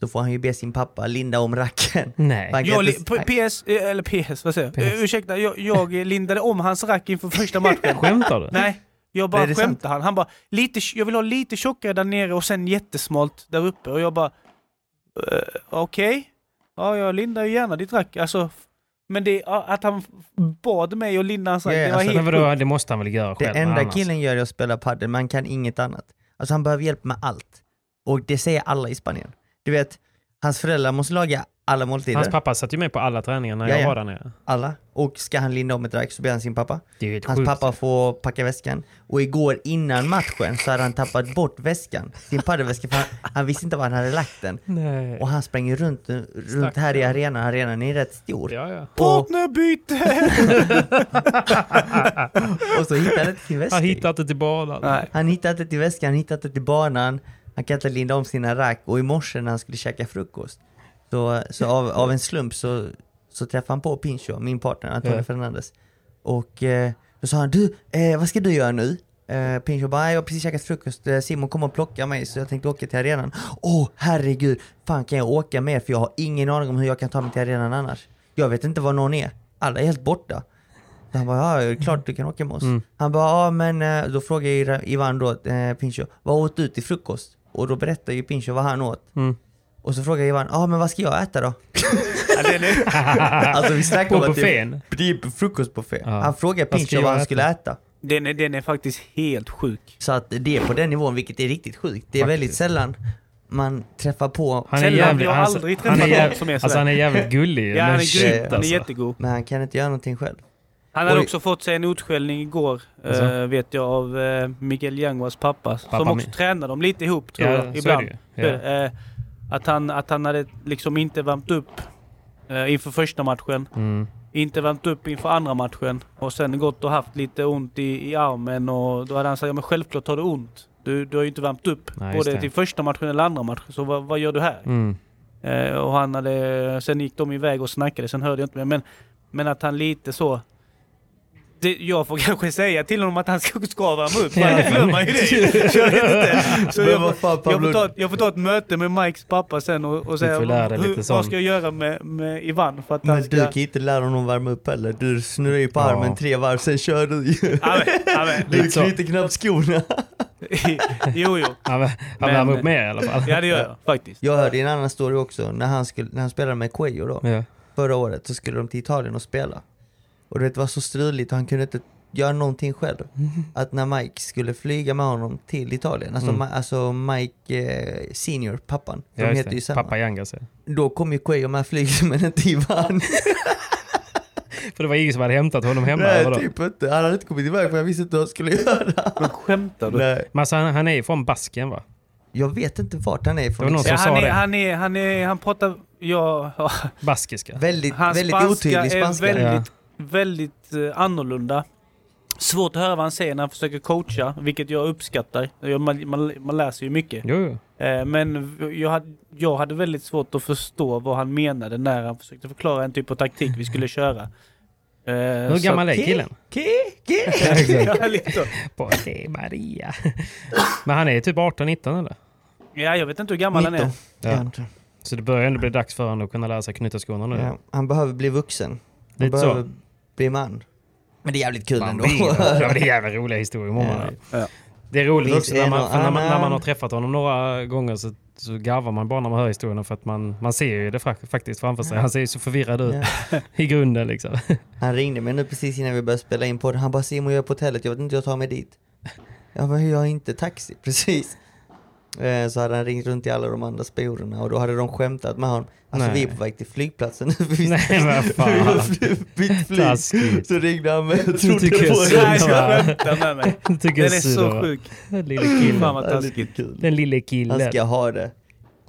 Speaker 3: då får han ju be sin pappa linda om racken.
Speaker 4: Mm.
Speaker 2: Nej.
Speaker 3: Man kan
Speaker 4: Jag, li-
Speaker 3: inte-
Speaker 4: P- PS, eh, eller PS, vad säger jag?
Speaker 2: PS.
Speaker 4: Eh, Ursäkta, jag, jag eh, lindade om hans rack inför första matchen.
Speaker 2: Skämtar du?
Speaker 4: Nej, jag
Speaker 3: Nej,
Speaker 4: bara
Speaker 3: det är
Speaker 4: skämtade. Han, han bara, lite, jag vill ha lite tjockare där nere och sen jättesmalt där uppe. Och jag bara, eh, okej. Ja, jag lindar ju gärna ditt rack. Alltså, f- men det, ja, att han f- bad mig att linda hans rack,
Speaker 3: Ja, ja,
Speaker 4: det var
Speaker 3: alltså,
Speaker 2: Men
Speaker 4: helt
Speaker 2: vadå,
Speaker 4: sjukt.
Speaker 2: det måste han väl göra
Speaker 3: Det
Speaker 2: själv?
Speaker 3: enda
Speaker 2: annars.
Speaker 3: killen gör är att spela padel, man kan inget annat. Alltså han behöver hjälp med allt. Och det säger alla i Spanien. Du vet, hans föräldrar måste laga alla måltider.
Speaker 2: Hans pappa satt ju med på alla träningar när
Speaker 3: Jaja.
Speaker 2: jag var där nere.
Speaker 3: alla. Och ska han linda om ett rack så ber han sin pappa.
Speaker 2: Det är ju helt
Speaker 3: Hans
Speaker 2: sjukt.
Speaker 3: pappa får packa väskan. Och igår innan matchen så hade han tappat bort väskan. Sin padelväska för han, han visste inte var han hade lagt den.
Speaker 2: Nej.
Speaker 3: Och han sprang runt, runt här i arenan, arenan är rätt stor.
Speaker 2: Ja, ja.
Speaker 3: Och,
Speaker 4: Partnerbyte!
Speaker 3: och så hittade han inte sin väska.
Speaker 2: Han hittade inte till banan.
Speaker 4: Nej.
Speaker 3: Han hittade inte till väskan, han hittade inte till banan. Han kan inte linda om sina rack och i morse när han skulle käka frukost så, så av, av en slump så, så träffade han på Pincho, min partner Antonio
Speaker 2: Ja.
Speaker 3: Fernandes. Och eh, då sa han du, eh, vad ska du göra nu? Eh, Pincho bara, "Nej, jag har precis käkat frukost, eh, Simon kommer och plocka mig så jag tänkte åka till arenan. Åh herregud, fan kan jag åka med för jag har ingen aning om hur jag kan ta mig till arenan annars. Jag vet inte var någon är, alla är helt borta. Så Han bara, ja det är klart du kan åka med oss. Han bara, ja men eh, då frågar ju Ra- Ivan då eh, Pincho, vad åt du till frukost? Och då berättar ju Pincho vad han åt. Och så frågar Ivan, ja men vad ska jag äta då? alltså vi snackar om
Speaker 2: På
Speaker 3: att det
Speaker 2: buffén.
Speaker 3: det är typ frukostbuffé.
Speaker 2: Ja.
Speaker 3: Han frågar
Speaker 2: Vad ska
Speaker 3: Pincho
Speaker 2: jag
Speaker 3: vad han
Speaker 2: äta?
Speaker 3: skulle äta.
Speaker 4: Den är, den är faktiskt helt sjuk.
Speaker 3: Så att det är på den nivån, vilket är riktigt sjukt. Det är väldigt sällan man träffar på,
Speaker 2: Han
Speaker 4: Sällan, jag har
Speaker 2: alltså,
Speaker 4: aldrig
Speaker 2: han är
Speaker 4: träffat någon
Speaker 2: jäv-
Speaker 4: som är sådär.
Speaker 2: Alltså han är jävligt gullig.
Speaker 4: Ja,
Speaker 2: men
Speaker 4: han är
Speaker 2: shit,
Speaker 4: grym. Han är
Speaker 2: alltså.
Speaker 4: jättegod.
Speaker 3: men han kan inte göra någonting själv.
Speaker 4: Han hade
Speaker 3: Oj.
Speaker 4: också fått sig en utskällning igår, eh,
Speaker 2: Alltså?
Speaker 4: vet jag, av eh, Miguel Yanguas pappa. som
Speaker 2: Pappa
Speaker 4: också
Speaker 2: min.
Speaker 4: tränar dem lite ihop, tror
Speaker 2: Ja, så är
Speaker 4: jag,
Speaker 2: det
Speaker 4: ibland.
Speaker 2: ju. Ja.
Speaker 4: Så är det, eh, att, han, att han hade liksom inte värmt upp eh, inför första matchen.
Speaker 2: Mm.
Speaker 4: Inte värmt upp inför andra matchen. Och sen gått och haft lite ont i, i armen och då hade han sagt ja men självklart har du ont. Du, du har ju inte värmt upp.
Speaker 2: Nej, just
Speaker 4: både
Speaker 2: det.
Speaker 4: till första matchen eller andra matchen. Så vad, vad gör du här?
Speaker 2: Mm.
Speaker 4: Eh, och han hade, sen gick de iväg och snackade, sen hörde jag inte mer. Men, men att han lite så... Det, jag får kanske säga till honom att han ska, ska värma upp, för annars glömmer han ju det. Så jag vet inte. Så
Speaker 3: Men
Speaker 4: jag,
Speaker 3: vad
Speaker 4: får-
Speaker 3: fan,
Speaker 4: jag, får
Speaker 3: Pablo?
Speaker 4: ta, ett- jag får ta ett möte med Mikes pappa sen och, och säga
Speaker 2: får lära dig lite
Speaker 4: vad
Speaker 2: sån-
Speaker 4: ska jag göra med, med Ivan för att
Speaker 3: Men
Speaker 4: han
Speaker 3: du
Speaker 4: ska...
Speaker 3: kan ju inte lära honom värma upp heller. Du snurrar ju på
Speaker 2: Ja.
Speaker 3: armen tre varv, sen kör du ju.
Speaker 4: Ja, men, ja, men,
Speaker 3: Du
Speaker 2: Lite så.
Speaker 3: knyter knappt skorna.
Speaker 4: jo, jo.
Speaker 2: Han, han
Speaker 4: Men-
Speaker 2: värmer upp mer i alla fall.
Speaker 4: Ja, det gör jag faktiskt.
Speaker 3: Jag hörde en annan story också, när han, skulle, när han spelade med Cuello då,
Speaker 2: Ja.
Speaker 3: förra året, så skulle de till Italien och spela. Och du vet, det var så struligt och han kunde inte göra någonting själv. Att när Mike skulle flyga med honom till Italien, alltså, Ma- alltså Mike eh, Senior, pappan, de
Speaker 2: Mm. Ja, just
Speaker 3: heter
Speaker 2: det.
Speaker 3: ju samma.
Speaker 2: Pappa Yangas. ja.
Speaker 3: Då kom ju Cuello med flyget men inte Ivan.
Speaker 2: För det var ingen som hade hämtat honom hemma.
Speaker 3: Nej,
Speaker 2: vadå?
Speaker 3: typ inte. Han hade inte kommit iväg för jag visste inte vad han skulle göra.
Speaker 4: Men skämtar du?
Speaker 3: Nej.
Speaker 2: Men alltså, han, han är ju från Basken va?
Speaker 3: Jag vet inte vart han är liksom.
Speaker 2: Det
Speaker 3: ifrån.
Speaker 2: var någon
Speaker 3: exakt.
Speaker 2: som sa
Speaker 4: Ja, han, är,
Speaker 2: det.
Speaker 4: han, är, han, är, han pratar... Ja,
Speaker 2: Baskiska.
Speaker 3: Väldigt,
Speaker 4: Hans
Speaker 3: väldigt
Speaker 4: spanska
Speaker 3: otydlig
Speaker 4: är
Speaker 3: spanska.
Speaker 4: väldigt,
Speaker 2: Ja.
Speaker 4: väldigt eh, annorlunda. Svårt att höra vad han säger när han försöker coacha, vilket jag uppskattar. Jag- Man, man, man läser ju mycket.
Speaker 2: Jo, jo.
Speaker 4: Eh, Men v- jag hade, jag hade väldigt svårt att förstå vad han menade när han försökte förklara en typ av taktik vi skulle köra. Eh,
Speaker 2: Hur gammal är killen?
Speaker 4: är
Speaker 2: På det är Maria. Men han är typ 18-19 eller?
Speaker 4: Ja, jag vet inte hur gammal han är.
Speaker 3: 19.
Speaker 2: Ja. Så det börjar ändå bli dags för honom att kunna lära sig knyta skorna nu.
Speaker 3: Ja, han behöver bli vuxen. Han
Speaker 2: Lite
Speaker 3: behöver
Speaker 2: så.
Speaker 3: bli man. Men det är jävligt kul
Speaker 2: Man
Speaker 3: ändå.
Speaker 2: blir- Det var jävla roliga historier om honom. Det är roligt
Speaker 3: Finns
Speaker 2: också
Speaker 3: det
Speaker 2: när
Speaker 3: en
Speaker 2: man,
Speaker 3: och
Speaker 2: för när, man, när
Speaker 3: annan?
Speaker 2: man har träffat honom några gånger så, så garvar man bara när man hör historierna för att man, man ser ju det frak- faktiskt framför sig. Han ser ju så förvirrad ut i grunden liksom.
Speaker 3: Han ringde mig nu precis innan vi började spela in podden. Han bara Simon jag är på hotellet, jag vet inte hur jag tar mig dit. Jag bara jag har inte taxi, precis. Eh, Så hade han ringt runt till alla de andra spanjorerna och då hade de skämtat med honom. Alltså
Speaker 2: Nej.
Speaker 3: vi är på väg till flygplatsen nu. för vi-
Speaker 2: Nej, vad fan.
Speaker 3: vi har fly- bytt flyg.
Speaker 2: Taskigt.
Speaker 3: Så ringde han mig och trodde
Speaker 2: tycker jag
Speaker 3: på
Speaker 2: synd
Speaker 3: det.
Speaker 4: Nej, jag skämtar med mig.
Speaker 2: Det
Speaker 4: Den
Speaker 2: tycker jag
Speaker 4: är
Speaker 2: synd
Speaker 4: så
Speaker 2: om.
Speaker 4: sjuk.
Speaker 2: Den lille killen.
Speaker 4: Fan vad
Speaker 3: Det är lite
Speaker 4: taskigt.
Speaker 3: kul.
Speaker 2: Den lille
Speaker 3: Han
Speaker 2: killen.
Speaker 3: ska ha det.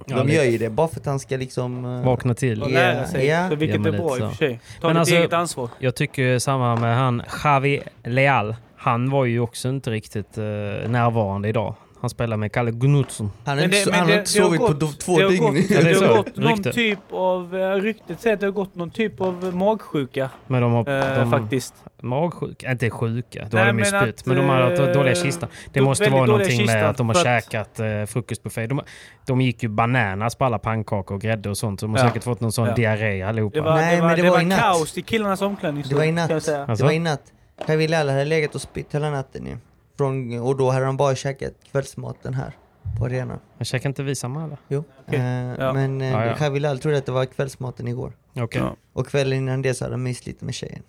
Speaker 2: Ja,
Speaker 3: De
Speaker 2: lite.
Speaker 3: gör ju det bara för att han ska liksom... eh,
Speaker 2: Vakna till.
Speaker 4: Och
Speaker 3: Ja,
Speaker 4: lära sig,
Speaker 3: ja.
Speaker 4: så vilket
Speaker 2: Ja, men
Speaker 4: är bra i
Speaker 2: lite
Speaker 4: och
Speaker 2: så.
Speaker 4: för sig. Ta
Speaker 2: Men
Speaker 4: ditt
Speaker 2: alltså-
Speaker 4: eget ansvar.
Speaker 2: Jag tycker samma med han Javi Leal. Han var ju också inte riktigt eh, närvarande idag. Han spelar med Kalle Gnutsson.
Speaker 3: Han har
Speaker 4: Men
Speaker 3: inte,
Speaker 4: det- men
Speaker 3: han har
Speaker 4: det-
Speaker 3: inte
Speaker 4: det har
Speaker 3: sovit på
Speaker 4: gått-
Speaker 3: do- två
Speaker 4: det har
Speaker 3: dygn.
Speaker 4: Gått,
Speaker 2: Ja, det är
Speaker 4: det
Speaker 2: så.
Speaker 4: har gått någon
Speaker 2: Rykte.
Speaker 4: typ av... eh, Ryktet säger att det har gått någon typ av eh, magsjuka
Speaker 2: Men de har,
Speaker 4: eh,
Speaker 2: de,
Speaker 4: faktiskt.
Speaker 2: magsjuka. Äh, Inte sjuka, då
Speaker 4: Nej,
Speaker 2: har de ju
Speaker 4: men
Speaker 2: spytt.
Speaker 4: att,
Speaker 2: Men de har haft
Speaker 4: eh,
Speaker 2: dåliga kistan. Det
Speaker 4: de-
Speaker 2: måste
Speaker 4: väldigt
Speaker 2: vara
Speaker 4: dåliga
Speaker 2: någonting med
Speaker 4: kistan,
Speaker 2: att de har
Speaker 4: för att-
Speaker 2: käkat eh, frukostbuffé. De, de gick ju bananas på alla pannkakor och grädde och sånt. så De har
Speaker 4: Ja.
Speaker 2: säkert fått någon sån
Speaker 4: Ja.
Speaker 2: diarré allihopa.
Speaker 4: Det var,
Speaker 3: Nej,
Speaker 4: det var,
Speaker 3: men det
Speaker 4: det
Speaker 3: var
Speaker 4: var
Speaker 3: i natt.
Speaker 4: kaos i killarnas
Speaker 3: Det
Speaker 4: omklädningsrum.
Speaker 3: var i
Speaker 4: kan jag
Speaker 3: natt.
Speaker 4: säga.
Speaker 3: Det var i
Speaker 2: Alltså?
Speaker 3: natt. Kaj Villal hade legat och spytt hela natten ju. Från, och då hade de bara käkat kvällsmaten här på arenan.
Speaker 2: Men käkar inte vi samma eller?
Speaker 3: Jo. Eh,
Speaker 4: Ja.
Speaker 3: Men eh,
Speaker 2: Ja, ja.
Speaker 3: Kaj Villal trodde att det var kvällsmaten igår.
Speaker 2: Okej.
Speaker 4: Ja.
Speaker 3: Och kvällen innan det så hade de myst lite med tjejen.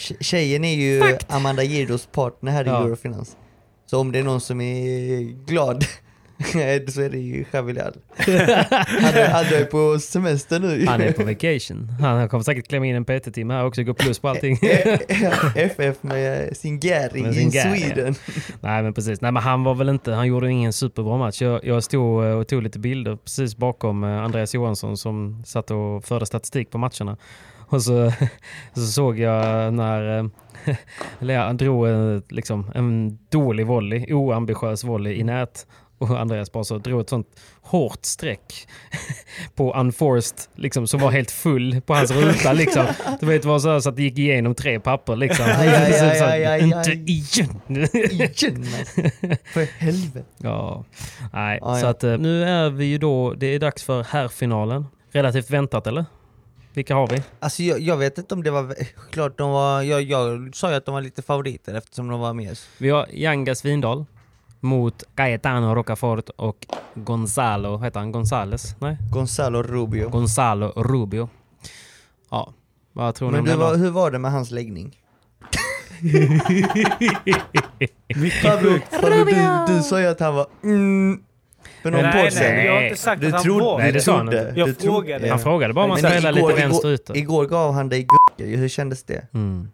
Speaker 3: Tje- Tjejen är ju Amanda Girdos partner här i
Speaker 2: Ja.
Speaker 3: Eurofinans. Så om det är någon som är glad så är det ju Chavilal. han, är- han är på semester nu.
Speaker 2: Han är på vacation. Han kommer säkert klämma in en PT-timme här också. Gå plus på allting.
Speaker 3: Eh, FF med sin Gary
Speaker 2: Med sin
Speaker 3: in
Speaker 2: Gary, ja.
Speaker 3: Sweden.
Speaker 2: Nej men precis. Nej men han var väl inte, han gjorde ingen superbra match. Jag, jag stod eh, och tog lite bilder precis bakom eh, Andreas Johansson som satt och förde statistik på matcherna. Och så, så såg jag när eh, eller ja, han drog eh, liksom, en dålig volley, oambitiös volley i nät. Och Andreas bara så drog ett sånt hårt streck på unforced, liksom, som var helt full på hans ruta. Liksom. Du vet, det var så, här, så att det gick igenom tre papper. Liksom.
Speaker 3: Aj, aj, aj, aj, aj,
Speaker 2: Inte
Speaker 3: aj.
Speaker 2: igen!
Speaker 3: Igen alltså. För helvete.
Speaker 2: Ja, nej.
Speaker 3: Ja,
Speaker 2: så
Speaker 3: ja.
Speaker 2: att eh, nu är vi ju då, det är dags för herrfinalen. Relativt väntat eller? Vilka har vi?
Speaker 3: Alltså jag, jag vet inte om det var... vä- Klart de var... Jag, jag sa ju att de var lite favoriter eftersom de var med.
Speaker 2: Vi har Janga Svindal mot Gaetano Rocafort och Gonzalo, heter han Gonzales? Nej?
Speaker 3: Gonzalo Rubio.
Speaker 2: Gonzalo Rubio. Ja, vad tror ni
Speaker 3: Men
Speaker 2: om
Speaker 3: du,
Speaker 2: den då?
Speaker 3: vad- hur var det med hans läggning?
Speaker 4: Sjukt.
Speaker 3: Farbror, du, du sa ju att han var... Mm, för någon
Speaker 4: Nej,
Speaker 3: podd
Speaker 4: nej,
Speaker 3: sen.
Speaker 4: jag har inte sagt
Speaker 3: Du
Speaker 4: att han
Speaker 3: trodde,
Speaker 4: var.
Speaker 2: Nej, det
Speaker 3: du
Speaker 2: sa han
Speaker 3: trodde,
Speaker 2: inte.
Speaker 3: du
Speaker 4: Jag
Speaker 3: trodde-
Speaker 4: frågade.
Speaker 3: ja.
Speaker 2: Han frågade bara om man
Speaker 3: Men
Speaker 2: ska hälla lite
Speaker 3: igår-
Speaker 2: vänster
Speaker 3: igår-
Speaker 2: ute.
Speaker 3: Igår gav han dig g- ju. Hur kändes det?
Speaker 2: Mm.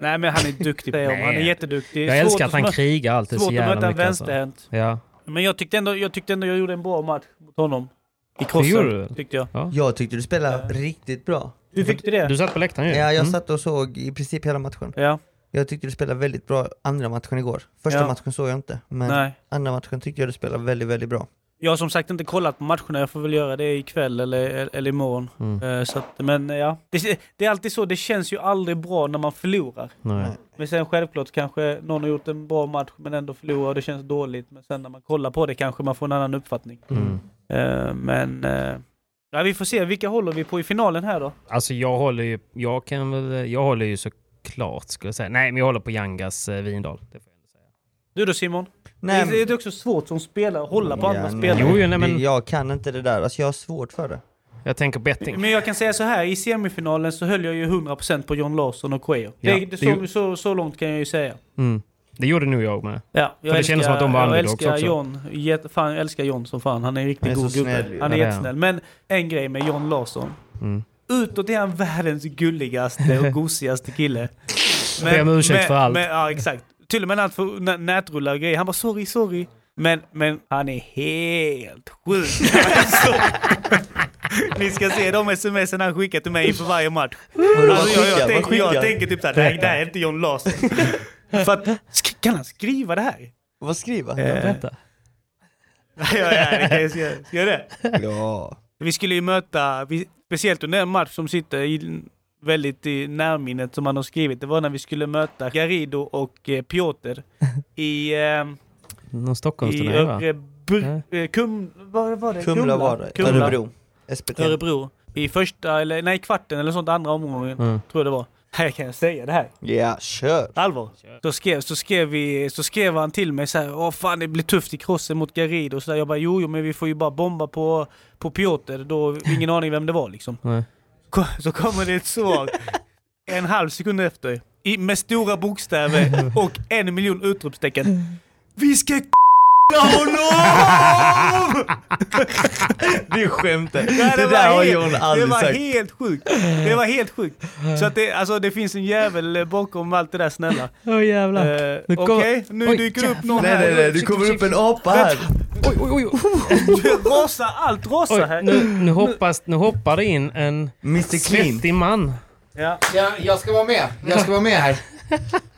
Speaker 4: Nej, men han är duktig. säger jag. Han är
Speaker 2: Nej.
Speaker 4: jätteduktig.
Speaker 2: Jag älskar
Speaker 4: Svårt
Speaker 2: att han
Speaker 4: möta-
Speaker 2: krigar alltid så
Speaker 4: Svårt att
Speaker 2: jävla
Speaker 4: möta en
Speaker 2: mycket. Alltså.
Speaker 4: vänsterhänt.
Speaker 2: Ja.
Speaker 4: Men jag tyckte, ändå, jag tyckte ändå jag gjorde en bra match mot honom. I
Speaker 2: gjorde du?
Speaker 4: crossen, tyckte jag.
Speaker 3: Jag tyckte du spelade riktigt bra.
Speaker 4: Du tyckte det?
Speaker 2: Du satt på läktaren ju.
Speaker 3: Ja, jag
Speaker 2: Mm.
Speaker 3: satt och såg i princip hela matchen.
Speaker 4: Ja.
Speaker 3: Jag tyckte du spelade väldigt bra andra matchen igår. Första
Speaker 4: Ja.
Speaker 3: matchen såg jag inte, men
Speaker 4: Nej.
Speaker 3: andra matchen tyckte jag du spelade väldigt, väldigt bra.
Speaker 4: Jag har som sagt inte kollat på matcherna. Jag får väl göra det ikväll eller, eller imorgon.
Speaker 2: Mm.
Speaker 4: Eh, Så att, men eh, ja, det, det är alltid så. Det känns ju aldrig bra när man förlorar.
Speaker 2: Nej.
Speaker 4: Men sen självklart kanske någon har gjort en bra match men ändå förlorar och det känns dåligt. Men sen när man kollar på det kanske man får en annan uppfattning.
Speaker 2: Mm.
Speaker 4: Eh, Men eh, ja, vi får se. Vilka håller vi på i finalen här då?
Speaker 2: Alltså jag håller ju, jag kan väl, jag håller ju såklart skulle jag säga. Nej, men jag håller på Yangas eh, Vindal. Det får jag ändå säga.
Speaker 4: Du då Simon?
Speaker 3: Nej,
Speaker 4: det är det är också svårt som spelare att hålla på
Speaker 3: Ja,
Speaker 4: andra
Speaker 3: nej.
Speaker 4: spelare.
Speaker 2: Jo, jo, nej, men-
Speaker 3: det- Jag kan inte det där, alltså jag har svårt för det.
Speaker 2: Jag tänker betting.
Speaker 4: Men jag kan säga så här, i semifinalen så höll jag ju 100% på John Larsson och Quayo.
Speaker 2: Ja,
Speaker 4: det,
Speaker 2: det
Speaker 4: det,
Speaker 2: ju-
Speaker 4: så, så, så långt kan jag ju säga.
Speaker 2: Mm. Det gjorde nog jag med.
Speaker 4: Ja, jag
Speaker 2: det kändes som att de var
Speaker 4: jag
Speaker 2: underdogs
Speaker 4: älskar
Speaker 2: också.
Speaker 4: John. Jätte, fan, jag älskar John som fan. Han är en riktigt
Speaker 3: Han är
Speaker 4: god
Speaker 3: så snäll
Speaker 4: gubbe.
Speaker 3: ju.
Speaker 4: Han är
Speaker 2: Ja, det är
Speaker 4: jättesnäll. Men en grej med John Larsson.
Speaker 2: Mm.
Speaker 4: Utåt är han världens gulligaste och gosigaste kille.
Speaker 2: Ber om ursäkt
Speaker 4: men,
Speaker 2: för allt.
Speaker 4: Men, ja, exakt. Till och med när han får nä- nätrullar och grejer. Han bara sorry, sorry. Men, men han är helt sjuk. Alltså, Ni ska se de sms han skickar till mig inför varje match.
Speaker 3: Vadå, vad
Speaker 4: Alltså, jag,
Speaker 3: skickar-
Speaker 4: jag,
Speaker 3: vad
Speaker 4: tänker, jag
Speaker 3: skickar-
Speaker 4: tänker typ såhär, nej det här är inte John Larsson. För att, sk- kan han skriva det här?
Speaker 3: Vad skriver han?
Speaker 4: Eh,
Speaker 2: Vänta.
Speaker 4: ja, ja, ja, det kan jag säga. Ska jag det?
Speaker 3: Ja.
Speaker 4: Vi skulle ju möta, vi, speciellt under en match som sitter i, väldigt i närminnet som man har skrivit, det var när vi skulle möta Garrido och eh, Piotr i, eh,
Speaker 2: Någon
Speaker 4: i
Speaker 2: Stockholmsturnering va?
Speaker 4: Örebro, eh, Kum, vad var det?
Speaker 3: Kumla var det,
Speaker 4: Kumla.
Speaker 3: Örebro. SPT.
Speaker 4: Örebro. I första, eller nej kvarten eller sånt, andra omgången,
Speaker 2: Mm.
Speaker 4: tror jag det var. Här kan jag säga det här.
Speaker 3: Ja, kör!
Speaker 4: Allvar. Så skrev, så skrev, vi, så skrev han till mig så här, Åh fan det blir tufft i crossen mot Garrido och så där. Jag bara jo, jo men vi får ju bara bomba på, på Piotr. Då, ingen aning vem det var liksom.
Speaker 2: Nej.
Speaker 4: Ko- Så kommer det ett svar en halv sekund efter. I, med stora bokstäver och en miljon utropstecken. Vi ska k***a honom!
Speaker 3: Du skämtar! Det,
Speaker 4: Nej, var
Speaker 3: där har
Speaker 4: helt-
Speaker 3: John aldrig
Speaker 4: Det var
Speaker 3: sagt.
Speaker 4: helt sjukt. Det var helt sjukt. Så att det, alltså, det finns en jävel bakom allt det där snälla.
Speaker 2: Åh jävlar.
Speaker 4: Eh,
Speaker 2: Nu
Speaker 4: Okej,
Speaker 2: kommer-
Speaker 4: nu
Speaker 2: Oj,
Speaker 4: dyker det upp någon
Speaker 3: Nej
Speaker 4: här.
Speaker 3: nej nej, det kommer upp en apa här!
Speaker 2: Oj, oj, oj.
Speaker 4: Rasa, allt rasar
Speaker 2: oj.
Speaker 4: här.
Speaker 2: Nu, nu, hoppas, nu hoppar det in en
Speaker 3: Mr Clean!
Speaker 2: svettig man.
Speaker 4: Ja.
Speaker 5: Ja, jag ska vara med. Jag ska vara med här.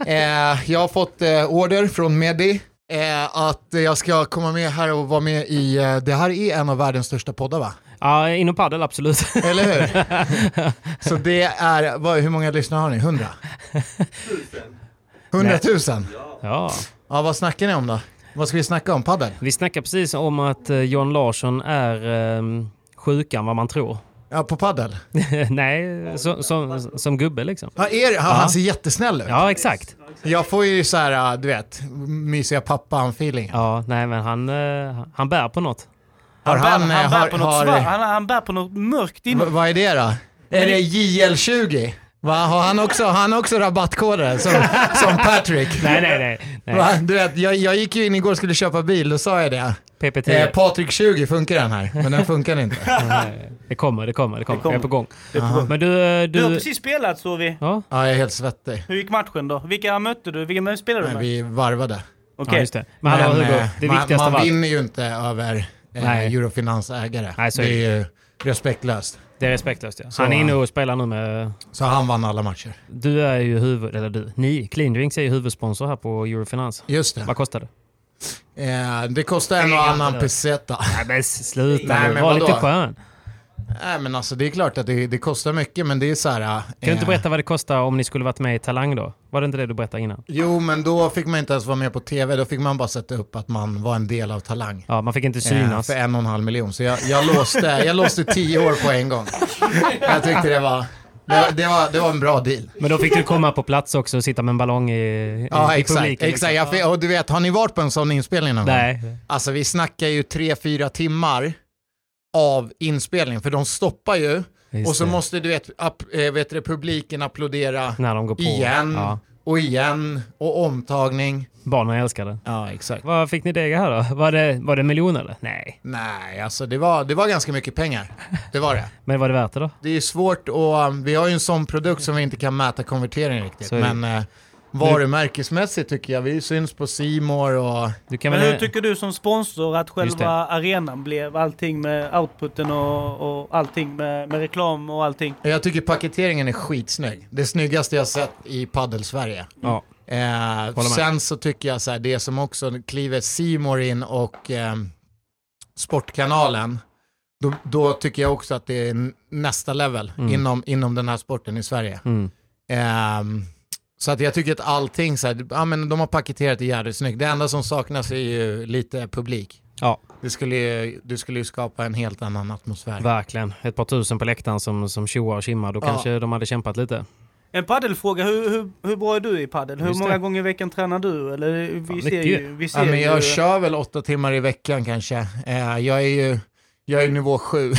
Speaker 5: Eh, jag har fått eh, order från Medi eh, att eh, jag ska komma med här och vara med i, eh, det här är en av världens största poddar va?
Speaker 2: Ja, inom padel absolut.
Speaker 5: Eller hur? Så det är, vad, hur många lyssnare har ni? 100? 100 000?
Speaker 2: ja.
Speaker 5: Ja, vad snackar ni om då? Vad ska vi snacka om? Padel?
Speaker 2: Vi snackade precis om att eh, John Larsson är eh, sjukare än vad man tror.
Speaker 5: Ja, på padel?
Speaker 2: Nej, så, som, som gubbe liksom.
Speaker 5: Ja, är, ja, Han ser jättesnäll ut.
Speaker 2: Ja, exakt.
Speaker 5: Jag får ju så här, eh, du vet, mysiga pappan-feeling.
Speaker 2: Ja, nej men han, eh, han bär på något.
Speaker 5: Har
Speaker 4: Han,
Speaker 5: han,
Speaker 4: bär, han,
Speaker 5: eh,
Speaker 4: bär
Speaker 5: har-
Speaker 4: på något
Speaker 5: har-
Speaker 4: svart, han, han bär på något mörkt
Speaker 5: V-
Speaker 2: Mm.
Speaker 4: inom.
Speaker 5: Vad är det då? Är det JL20? Va? Har han också, har han också rabattkoder som, som Patrick?
Speaker 2: Nej, nej, nej. nej.
Speaker 5: Va? Du vet, jag, jag gick ju in igår och skulle köpa bil, då sa jag det.
Speaker 2: PPT.
Speaker 5: Eh, Patrik 20 funkar den här, men den funkar inte.
Speaker 2: Det kommer, det kommer, det kommer. Jag är på gång.
Speaker 4: på gång.
Speaker 2: Men du... eh,
Speaker 4: Typ. Du har
Speaker 2: du
Speaker 4: precis spelat såg vi.
Speaker 2: ja?
Speaker 5: Ja, jag är helt svettig.
Speaker 4: Hur gick matchen då? Vilka mötte du? Vilka spelade du
Speaker 5: Men
Speaker 4: med?
Speaker 5: vi varvade.
Speaker 2: ja,
Speaker 4: Okej.
Speaker 2: just det. Men hallå Hugo,
Speaker 5: eh,
Speaker 2: det
Speaker 5: man,
Speaker 2: viktigaste av
Speaker 5: man
Speaker 2: allt.
Speaker 5: vinner ju inte över eh,
Speaker 2: Nej.
Speaker 5: Eurofinans ägare.
Speaker 2: Nej, så är
Speaker 5: det
Speaker 2: det.
Speaker 5: är ju respektlöst.
Speaker 2: Det är respektlöst. Ja.
Speaker 5: Så,
Speaker 2: Han är inne
Speaker 5: eh,
Speaker 2: och spelar nu med...
Speaker 5: Så han vann alla matcher.
Speaker 2: Du är ju huvud... Eller du, ni. Clean Drinks är ju huvudsponsor här på Eurofinans.
Speaker 5: Just det.
Speaker 2: Vad kostar det?
Speaker 5: Eh, det kostar en
Speaker 2: Det är
Speaker 5: och
Speaker 2: ganska
Speaker 5: annan
Speaker 2: bra.
Speaker 5: peseta.
Speaker 2: Nej men sluta
Speaker 5: Nej,
Speaker 2: nu.
Speaker 5: men
Speaker 2: Var
Speaker 5: vadå?
Speaker 2: lite skön. Kan
Speaker 5: Nej men alltså det är klart att det, det kostar mycket men det är så här... eh, Kan
Speaker 2: du inte berätta vad det kostar om ni skulle varit med i Talang då? Var det inte det du berättade innan?
Speaker 5: Jo men då fick man inte ens vara med på tv, då fick man bara sätta upp att man var en del av Talang.
Speaker 2: Ja, man fick inte
Speaker 5: Eh,
Speaker 2: synas.
Speaker 5: För en och en halv miljon. Så jag, jag, låste, jag låste tio år på en gång. Jag tyckte det var, det, var- det var, det var en bra deal.
Speaker 2: Men då fick du komma på plats också och sitta med en ballong i, i,
Speaker 5: Ja
Speaker 2: i
Speaker 5: exakt.
Speaker 2: publiken. liksom.
Speaker 5: exakt. Jag, fick- och du vet, har ni varit på en sån inspelning någon gång?
Speaker 2: Nej.
Speaker 5: Alltså vi snackar ju tre, fyra timmar av inspelningen, för de stoppar ju.
Speaker 2: Just
Speaker 5: Och så
Speaker 2: det.
Speaker 5: måste du vet, app, eh, vet du, publiken applådera.
Speaker 2: När de går på.
Speaker 5: igen
Speaker 2: Ja.
Speaker 5: och igen och omtagning.
Speaker 2: Barnen älskar det.
Speaker 5: Ja, exakt.
Speaker 2: Vad fick ni dega här då? Var det, var det en miljon eller? Nej.
Speaker 5: Nej, alltså det var, det var ganska mycket pengar. Det var det.
Speaker 2: Men var det värt det då?
Speaker 5: Det är svårt och um, vi har ju en sån produkt som vi inte kan mäta konvertering riktigt.
Speaker 2: Så är det.
Speaker 5: Men eh, varumärkesmässigt tycker jag, vi syns på Simor och...
Speaker 2: Du kan
Speaker 4: Men
Speaker 2: väl...
Speaker 4: hur tycker du som sponsor att
Speaker 2: Just det.
Speaker 4: själva arenan blev? Allting med outputen och, och allting med, med reklam och allting.
Speaker 5: Jag tycker paketeringen är skitsnygg. Det snyggaste jag sett i paddelsverige.
Speaker 2: Ja.
Speaker 5: Eh,
Speaker 2: med.
Speaker 5: sen så tycker jag så här, det som också kliver Simor in och ehm, Sportkanalen, då, då tycker jag också att det är n- nästa level inom, inom den här sporten i Sverige.
Speaker 2: Mm.
Speaker 5: Ehm, så att jag tycker att allting, så här, ja, men de har paketerat det jävligt snyggt. Det enda som saknas är ju lite publik.
Speaker 2: Ja,
Speaker 5: Det skulle ju, det skulle ju skapa en helt annan atmosfär.
Speaker 2: verkligen. Ett par tusen på läktaren som, som tjoar och tjimmar. Då
Speaker 5: Ja.
Speaker 2: kanske de hade kämpat lite.
Speaker 4: En paddelfråga, hur, hur, hur bra är du i paddel? Hur
Speaker 2: Just det.
Speaker 4: många gånger i veckan tränar du? Eller, vi, ser
Speaker 2: mycket.
Speaker 4: ju, vi ser
Speaker 5: Ja, men jag
Speaker 4: ju...
Speaker 5: kör väl åtta timmar i veckan kanske. Eh, jag är ju jag är nivå sju.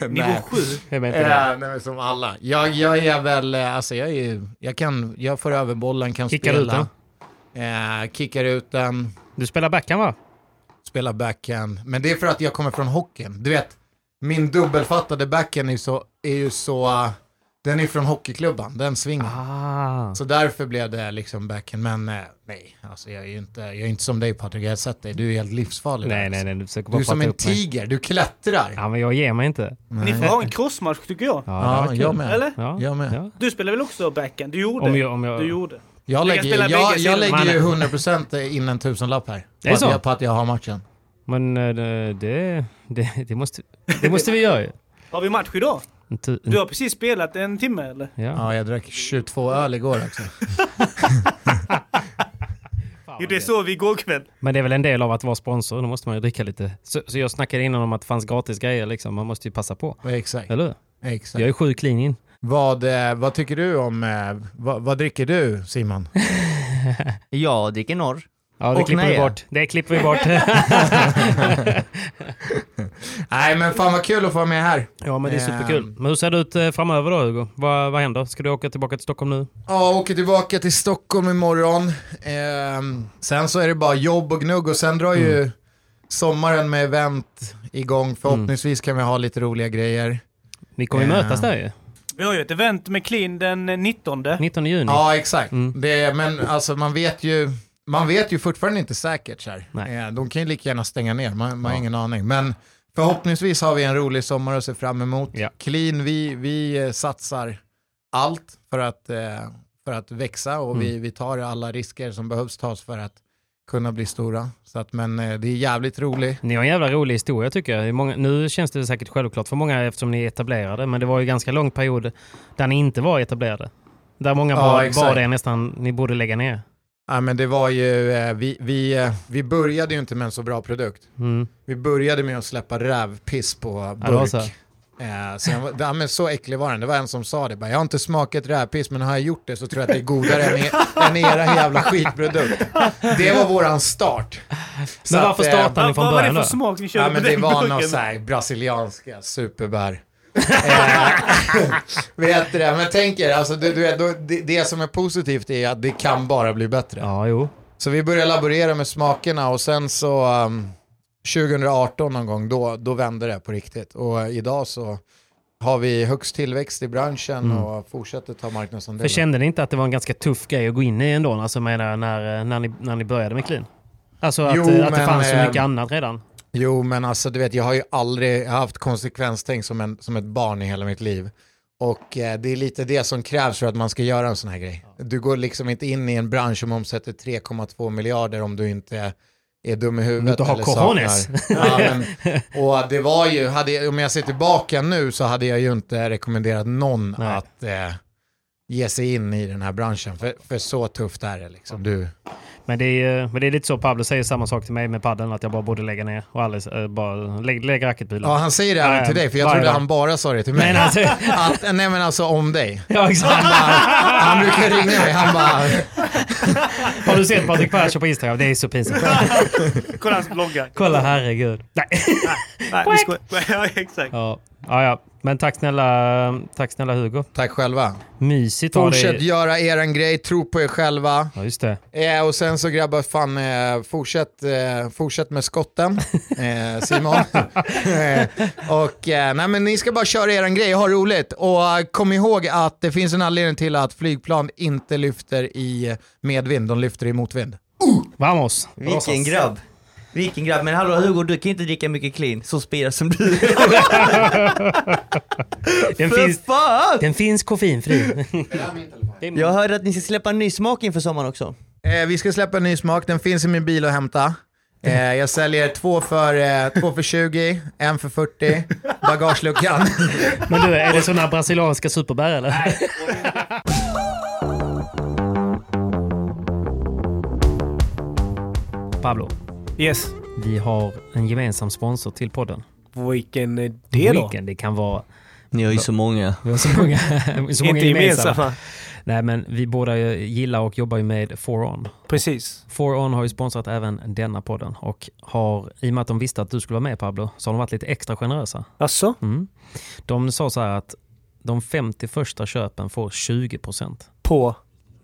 Speaker 4: Nivå
Speaker 5: Nej.
Speaker 4: 7?
Speaker 2: Jag vet inte det.
Speaker 5: Eh, nej, men som alla. Jag, jag är väl, eh, alltså jag är ju, jag kan, jag får över bollen, kan
Speaker 2: Kickar
Speaker 5: spela.
Speaker 2: ut den?
Speaker 5: Eh, kickar ut den,
Speaker 2: Du spelar backhand va?
Speaker 5: spelar backhand. Men det är för att jag kommer från hockeyn. Du vet, min dubbelfattade backhand är, så, är ju så, eh, den är från hockeyklubban, den svingen.
Speaker 2: Ah.
Speaker 5: Så därför blev det liksom backhand. Men eh, nej, alltså jag är ju inte, jag är inte som dig Patrik, jag har sett dig. Du är helt livsfarlig. där,
Speaker 2: Nej, nej,
Speaker 5: alltså.
Speaker 2: nej. Du försöker
Speaker 5: Du
Speaker 2: bara
Speaker 5: är som
Speaker 2: prata
Speaker 5: en
Speaker 2: upp mig.
Speaker 5: tiger, du klättrar.
Speaker 2: Ja, men jag ger mig inte.
Speaker 4: Ni får ha en crossmatch tycker jag.
Speaker 2: Ja, det
Speaker 5: Ja,
Speaker 2: var
Speaker 5: jag
Speaker 2: kul.
Speaker 5: med.
Speaker 4: Eller?
Speaker 2: Ja.
Speaker 5: Jag med.
Speaker 2: Ja.
Speaker 4: Du spelar väl också backhand? Du gjorde?
Speaker 2: Om jag, om jag...
Speaker 4: Du gjorde.
Speaker 5: Jag
Speaker 4: Du kan
Speaker 5: lägger, ju-
Speaker 4: spela
Speaker 5: jag,
Speaker 4: bägge
Speaker 5: jag,
Speaker 4: sidor.
Speaker 5: lägger ju
Speaker 2: Mannen.
Speaker 5: 100% in en tusenlapp här.
Speaker 2: Det är
Speaker 5: på,
Speaker 2: så?
Speaker 5: Att jag, på att jag har matchen.
Speaker 2: Men eh, det, det, det, det, måste, det måste vi göra ju.
Speaker 4: Har vi match idag?
Speaker 2: En tu- en-
Speaker 4: Du har precis spelat en timme eller?
Speaker 2: Ja.
Speaker 5: Ja, jag drack 22 öl igår också.
Speaker 4: Jo, det såg vi igår kväll.
Speaker 2: Men det är väl en del av att vara sponsor. Då måste man ju dricka lite. Så, så jag snackade innan om att det fanns gratis grejer liksom. Man måste ju passa på.
Speaker 5: Exakt.
Speaker 2: Eller hur?
Speaker 5: Exakt.
Speaker 2: Jag är sjuk clean in.
Speaker 5: Vad, eh, vad tycker du om, eh, vad, vad dricker du Simon?
Speaker 3: Jag dricker norr.
Speaker 2: Ja, det
Speaker 3: Och
Speaker 2: klipper vi
Speaker 3: nej.
Speaker 2: bort. Det klipper vi bort.
Speaker 5: Nej men fan vad kul att få vara med här.
Speaker 2: ja, men det är superkul.
Speaker 5: Ehm.
Speaker 2: Men hur ser det ut eh, framöver då, Hugo? Vad, vad händer? Ska du åka tillbaka till Stockholm nu?
Speaker 5: Ja, åker tillbaka till Stockholm imorgon. Ehm, sen så är det bara jobb och gnugg och sen drar ju sommaren med event igång. Förhoppningsvis kan vi ha lite roliga grejer.
Speaker 2: Ni kommer ju
Speaker 5: Ehm.
Speaker 2: mötas där ju.
Speaker 4: Vi har ju ett event med Clean den 19.
Speaker 2: 19 juni. Mm.
Speaker 5: Ja, exakt. Det, men alltså man vet ju, man vet ju fortfarande inte säkert. Så här.
Speaker 2: Nej.
Speaker 5: Eh, De kan ju lika gärna stänga ner, man, man har ingen aning. Men förhoppningsvis har vi en rolig sommar att se fram emot.
Speaker 2: Ja.
Speaker 5: Clean, vi, vi eh, satsar allt för att, eh, för att växa och
Speaker 2: Mm.
Speaker 5: vi, vi tar alla risker som behövs tas för att kunna bli stora. Så att, men eh, det är jävligt roligt.
Speaker 2: Ni har en jävla rolig historia tycker jag. I Många, nu känns det säkert självklart för många eftersom ni är etablerade, men det var ju ganska lång period där ni inte var etablerade. Där många
Speaker 5: Ja,
Speaker 2: var,
Speaker 5: exakt.
Speaker 2: var det nästan ni borde lägga ner.
Speaker 5: Ja, men det var ju, eh, vi, vi, eh, vi började ju inte med en så bra produkt.
Speaker 2: Mm.
Speaker 5: Vi började med att släppa rävpiss på
Speaker 2: Ja, det var
Speaker 5: burk.
Speaker 2: så.
Speaker 5: Ja, sen var, ja, men så äcklig var den. Det var en som sa det. Bara, jag har inte smakat rävpiss, men har jag gjort det så tror jag att det är godare än, e- än era jävla skitprodukt. Det var våran start. Så
Speaker 2: Men varför
Speaker 5: eh,
Speaker 2: startade ni från
Speaker 4: Vad var det
Speaker 2: början
Speaker 4: för
Speaker 2: då?
Speaker 4: smak ni körde
Speaker 5: Ja, men
Speaker 4: på
Speaker 5: det
Speaker 4: den
Speaker 5: var
Speaker 4: burken?
Speaker 5: någon så här brasilianska superbär. Eh, vet du det? Men tänk er, alltså, du, du, vet, då- det, det som är positivt är att det kan bara bli bättre.
Speaker 2: Ja, jo.
Speaker 5: Så vi började laborera med smakerna och sen så um, 2018 någon gång, då, då vände det på riktigt. Och eh, idag så har vi högst tillväxt i branschen och fortsätter ta
Speaker 2: För
Speaker 5: marknadsandelar.
Speaker 2: kände ni inte att det var en ganska tuff grej att gå in i ändå? Alltså menar jag, när, när, ni, när ni började med Clean? Alltså att,
Speaker 5: Jo,
Speaker 2: eh, att det
Speaker 5: men,
Speaker 2: fanns så
Speaker 5: eh,
Speaker 2: mycket annat redan.
Speaker 5: Jo, men alltså du vet, jag har ju aldrig jag har haft konsekvenstänk som, en, som ett barn i hela mitt liv. Och eh, det är lite det som krävs för att man ska göra en sån här grej. Du går liksom inte in i en bransch som omsätter 3,2 miljarder om du inte är dum i huvudet
Speaker 2: inte har
Speaker 5: eller
Speaker 2: cojones.
Speaker 5: saknar. Ja, men, och det var ju, hade, jag- om jag ser tillbaka nu så hade jag ju inte rekommenderat någon
Speaker 2: Nej.
Speaker 5: att eh, ge sig in i den här branschen. För, för så tufft är det liksom. Du,
Speaker 2: Men det, är, eh, men det är lite så, Pablo säger samma sak till mig med padden att jag bara borde lägga ner och Alice eh, bara lägg, lägg racketbilen.
Speaker 5: ja, han säger det även
Speaker 2: Nej,
Speaker 5: till dig, för jag
Speaker 2: varje
Speaker 5: trodde
Speaker 2: dag.
Speaker 5: han bara sa det till mig.
Speaker 2: men alltså,
Speaker 5: Att, nej men alltså om dig.
Speaker 2: ja, exakt.
Speaker 5: Han brukar ringa mig, han bara,
Speaker 2: Har du sett Patrik Persson på Instagram? Det är så pinsamt.
Speaker 4: Kolla hans bloggar.
Speaker 2: Kolla herregud. Nej.
Speaker 4: Nej, vi skojar. Ja, exakt.
Speaker 2: Ja. Ja, ja. Men tack snälla, tack snälla Hugo.
Speaker 5: tack själva.
Speaker 2: Mysigt var
Speaker 5: Fortsätt
Speaker 2: det.
Speaker 5: göra eran grej, tro på er själva.
Speaker 2: Ja, just det.
Speaker 5: Eh, och sen så grabbar, fan, eh, fortsätt, eh, fortsätt med skotten, eh, Simon. eh, och eh, nej men ni ska bara köra eran grej, ha roligt. Och eh, kom ihåg att det finns en anledning till att flygplan inte lyfter i medvind, de lyfter i motvind.
Speaker 2: Vamos.
Speaker 3: Vilken grabb. Vilken grabb. Men hallå Hugo, du kan inte dricka mycket clean. Så spirad som du är.
Speaker 2: Den
Speaker 3: För
Speaker 2: finns,
Speaker 3: fan!
Speaker 2: den finns koffeinfri.
Speaker 3: Jag hörde att ni ska släppa en ny smak inför sommaren också.
Speaker 5: Eh, vi ska släppa en ny smak, den finns i min bil att hämta. Eh, jag säljer två för, eh, två för 20, en för 40, bagageluckan.
Speaker 2: Men du, är det sådana brasilianska superbär eller? Pablo,
Speaker 4: Yes.
Speaker 2: vi har en gemensam sponsor till podden.
Speaker 4: Vilken det då?
Speaker 2: Weekend, det kan vara...
Speaker 3: Ni har ju så många.
Speaker 2: Vi har så många, så många
Speaker 4: Inte
Speaker 2: gemensamma.
Speaker 4: gemensamma.
Speaker 2: Nej, men vi båda gillar och jobbar ju med 4On.
Speaker 4: Precis.
Speaker 2: 4On har ju sponsrat även denna podden och har, i och med att de visste att du skulle vara med Pablo, så har de varit lite extra generösa.
Speaker 4: Alltså?
Speaker 2: Mm. De sa så här att de 50 första köpen får 20%.
Speaker 4: På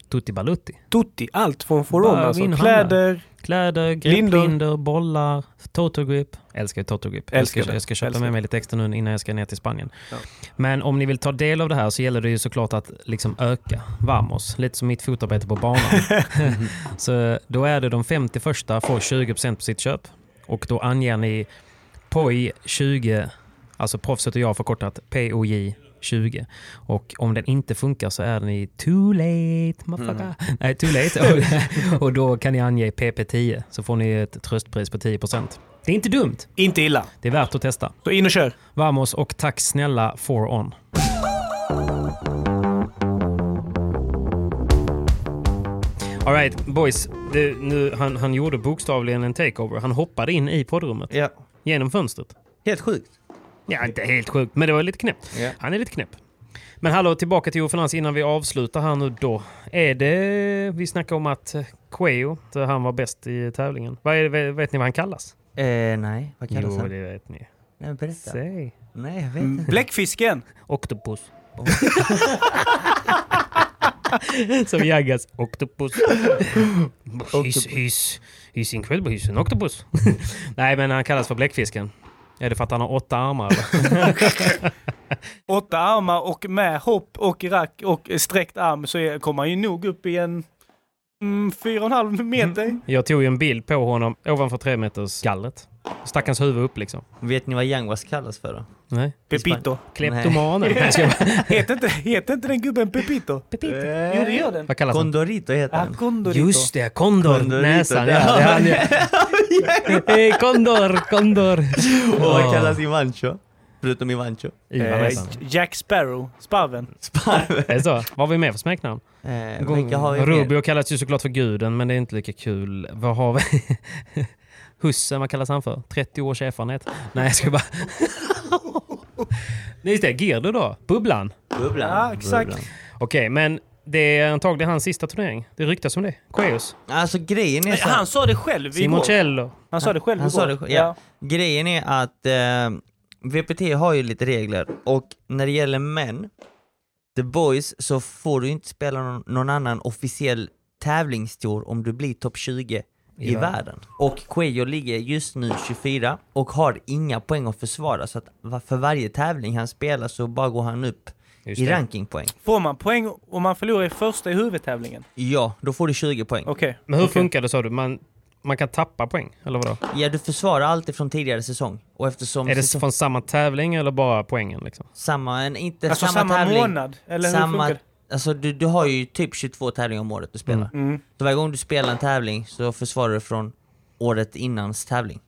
Speaker 2: Tutti balutti.
Speaker 4: Tutti. Allt från Foron
Speaker 2: Bara
Speaker 4: alltså.
Speaker 2: vinhandla.
Speaker 4: Kläder.
Speaker 2: Kläder, grepplindor,
Speaker 4: Lindor.
Speaker 2: bollar, totogrip. Älskar ju totogrip. Jag
Speaker 4: Älskar
Speaker 2: ska,
Speaker 4: det.
Speaker 2: jag ska köpa
Speaker 4: Älskar
Speaker 2: med
Speaker 4: det.
Speaker 2: mig lite extra nu innan jag ska ner till Spanien.
Speaker 4: Ja.
Speaker 2: Men om ni vill ta del av det här så gäller det ju såklart att liksom öka. Vamos. Lite som mitt fotarbete på banan. så då är det de 50 första får 20% på sitt köp. Och då anger ni POJ20, alltså proffset och jag förkortat POJ 20. Och om den inte funkar så är ni too late, motherfucker.
Speaker 4: Mm.
Speaker 2: Nej, too late. Och, och då kan ni ange PP10 så får ni ett tröstpris på 10%. Det är inte dumt.
Speaker 4: Inte illa.
Speaker 2: Det är värt att testa.
Speaker 4: Så in och kör.
Speaker 2: Vamos och tack snälla 4On. Alright boys, det, nu, han, han gjorde bokstavligen en takeover. Han hoppade in i poddrummet
Speaker 3: Ja.
Speaker 2: genom fönstret.
Speaker 3: Helt sjukt.
Speaker 2: Ja, inte helt sjukt, men det var lite knäppt.
Speaker 3: Ja.
Speaker 2: Han är lite knäpp. Men hallå, tillbaka till Jofinans innan vi avslutar här nu då. Är det... Vi snackar om att eh, Queo, så han var bäst i tävlingen. Vad är, det- vet ni vad han kallas?
Speaker 3: Eh, nej, vad kallas
Speaker 2: jo,
Speaker 3: han?
Speaker 2: det vet ni.
Speaker 3: Nej, men berätta.
Speaker 2: Säg.
Speaker 3: Nej, jag vet
Speaker 6: Mm.
Speaker 3: inte.
Speaker 4: Mm. Bläckfisken.
Speaker 2: Octopus. Som jaggas. Octopus. He's, he's, he's incredible. He's an octopus. Nej, men han kallas för bläckfisken. Är det för att han har åtta armar? eller?
Speaker 4: Åtta armar och med hopp och rack och sträckt arm så är- kommer han ju nog upp i en mm, fyra och en halv meter.
Speaker 2: Jag tog ju en bild på honom ovanför tre meters gallret. Stack hans huvud upp liksom.
Speaker 3: Vet ni vad Young was kallas för då?
Speaker 2: Nej.
Speaker 4: Pepito.
Speaker 2: Kleptomaner. Nej, jag skojar.
Speaker 4: Heter inte, heter inte den gubben Pepito? Pepito? Jo, det gör den.
Speaker 2: Vad kallas han?
Speaker 3: Condorito heter
Speaker 4: Ah,
Speaker 3: den.
Speaker 4: Condorito.
Speaker 2: Just det, Condor.
Speaker 3: Condorito,
Speaker 2: Näsan.
Speaker 3: det
Speaker 2: Ja,
Speaker 3: är
Speaker 2: det är han ju. Hej, Condor, Condor.
Speaker 3: Och vad kallas Ivancho? Förutom Ivancho.
Speaker 2: Ivan
Speaker 4: Eh,
Speaker 2: heter han.
Speaker 4: Jack Sparrow, sparven.
Speaker 3: Sparven.
Speaker 2: Är det så? Vad har vi mer för smeknamn?
Speaker 3: Eh, vilka har vi mer?
Speaker 2: Rubio kallas ju såklart för guden, men det är inte lika kul. Vad har vi? Hussen, vad kallas han för? 30 års erfarenhet? Nej, jag ska bara... Nej, just det. Gerdo då? Bubblan.
Speaker 3: Bubblan.
Speaker 4: Ja, exakt.
Speaker 3: Bubblan.
Speaker 2: Okej, men det är antagligen hans sista turnering. Det ryktas om det. Queos.
Speaker 3: Alltså grejen är så här-
Speaker 4: Han sa det själv igår.
Speaker 2: Simoncello.
Speaker 4: Han sa det själv
Speaker 3: Han
Speaker 4: igår.
Speaker 3: sa det, sj- ja. Grejen är att eh, VPT har ju lite regler och när det gäller män, The Boys, så får du inte spela någon, någon annan officiell tävlingstour om du blir topp 20 i
Speaker 2: Ja.
Speaker 3: världen. Och Cuello ligger just nu 24 och har inga poäng att försvara så att va- för varje tävling han spelar så bara går han upp
Speaker 2: Just
Speaker 3: i
Speaker 2: det.
Speaker 3: rankingpoäng.
Speaker 4: Får man poäng om man förlorar i första i huvudtävlingen?
Speaker 3: Ja, då får du 20 poäng.
Speaker 4: Okej.
Speaker 2: Men hur
Speaker 4: Okej.
Speaker 2: funkar det sa du? Man, man kan tappa poäng, eller vadå?
Speaker 3: Ja, du försvarar alltid från tidigare säsong. Och eftersom
Speaker 2: Är det
Speaker 3: säsong,
Speaker 2: från samma tävling eller bara poängen? Liksom?
Speaker 3: samma, en- inte
Speaker 4: Alltså
Speaker 3: samma,
Speaker 4: samma
Speaker 3: tävling.
Speaker 4: månad? Eller hur
Speaker 3: samma,
Speaker 4: funkar det?
Speaker 3: Alltså du, du har ju typ 22 tävlingar om året du spelar.
Speaker 4: Mm.
Speaker 3: Så varje gång du spelar en tävling så försvarar du från året innans tävling.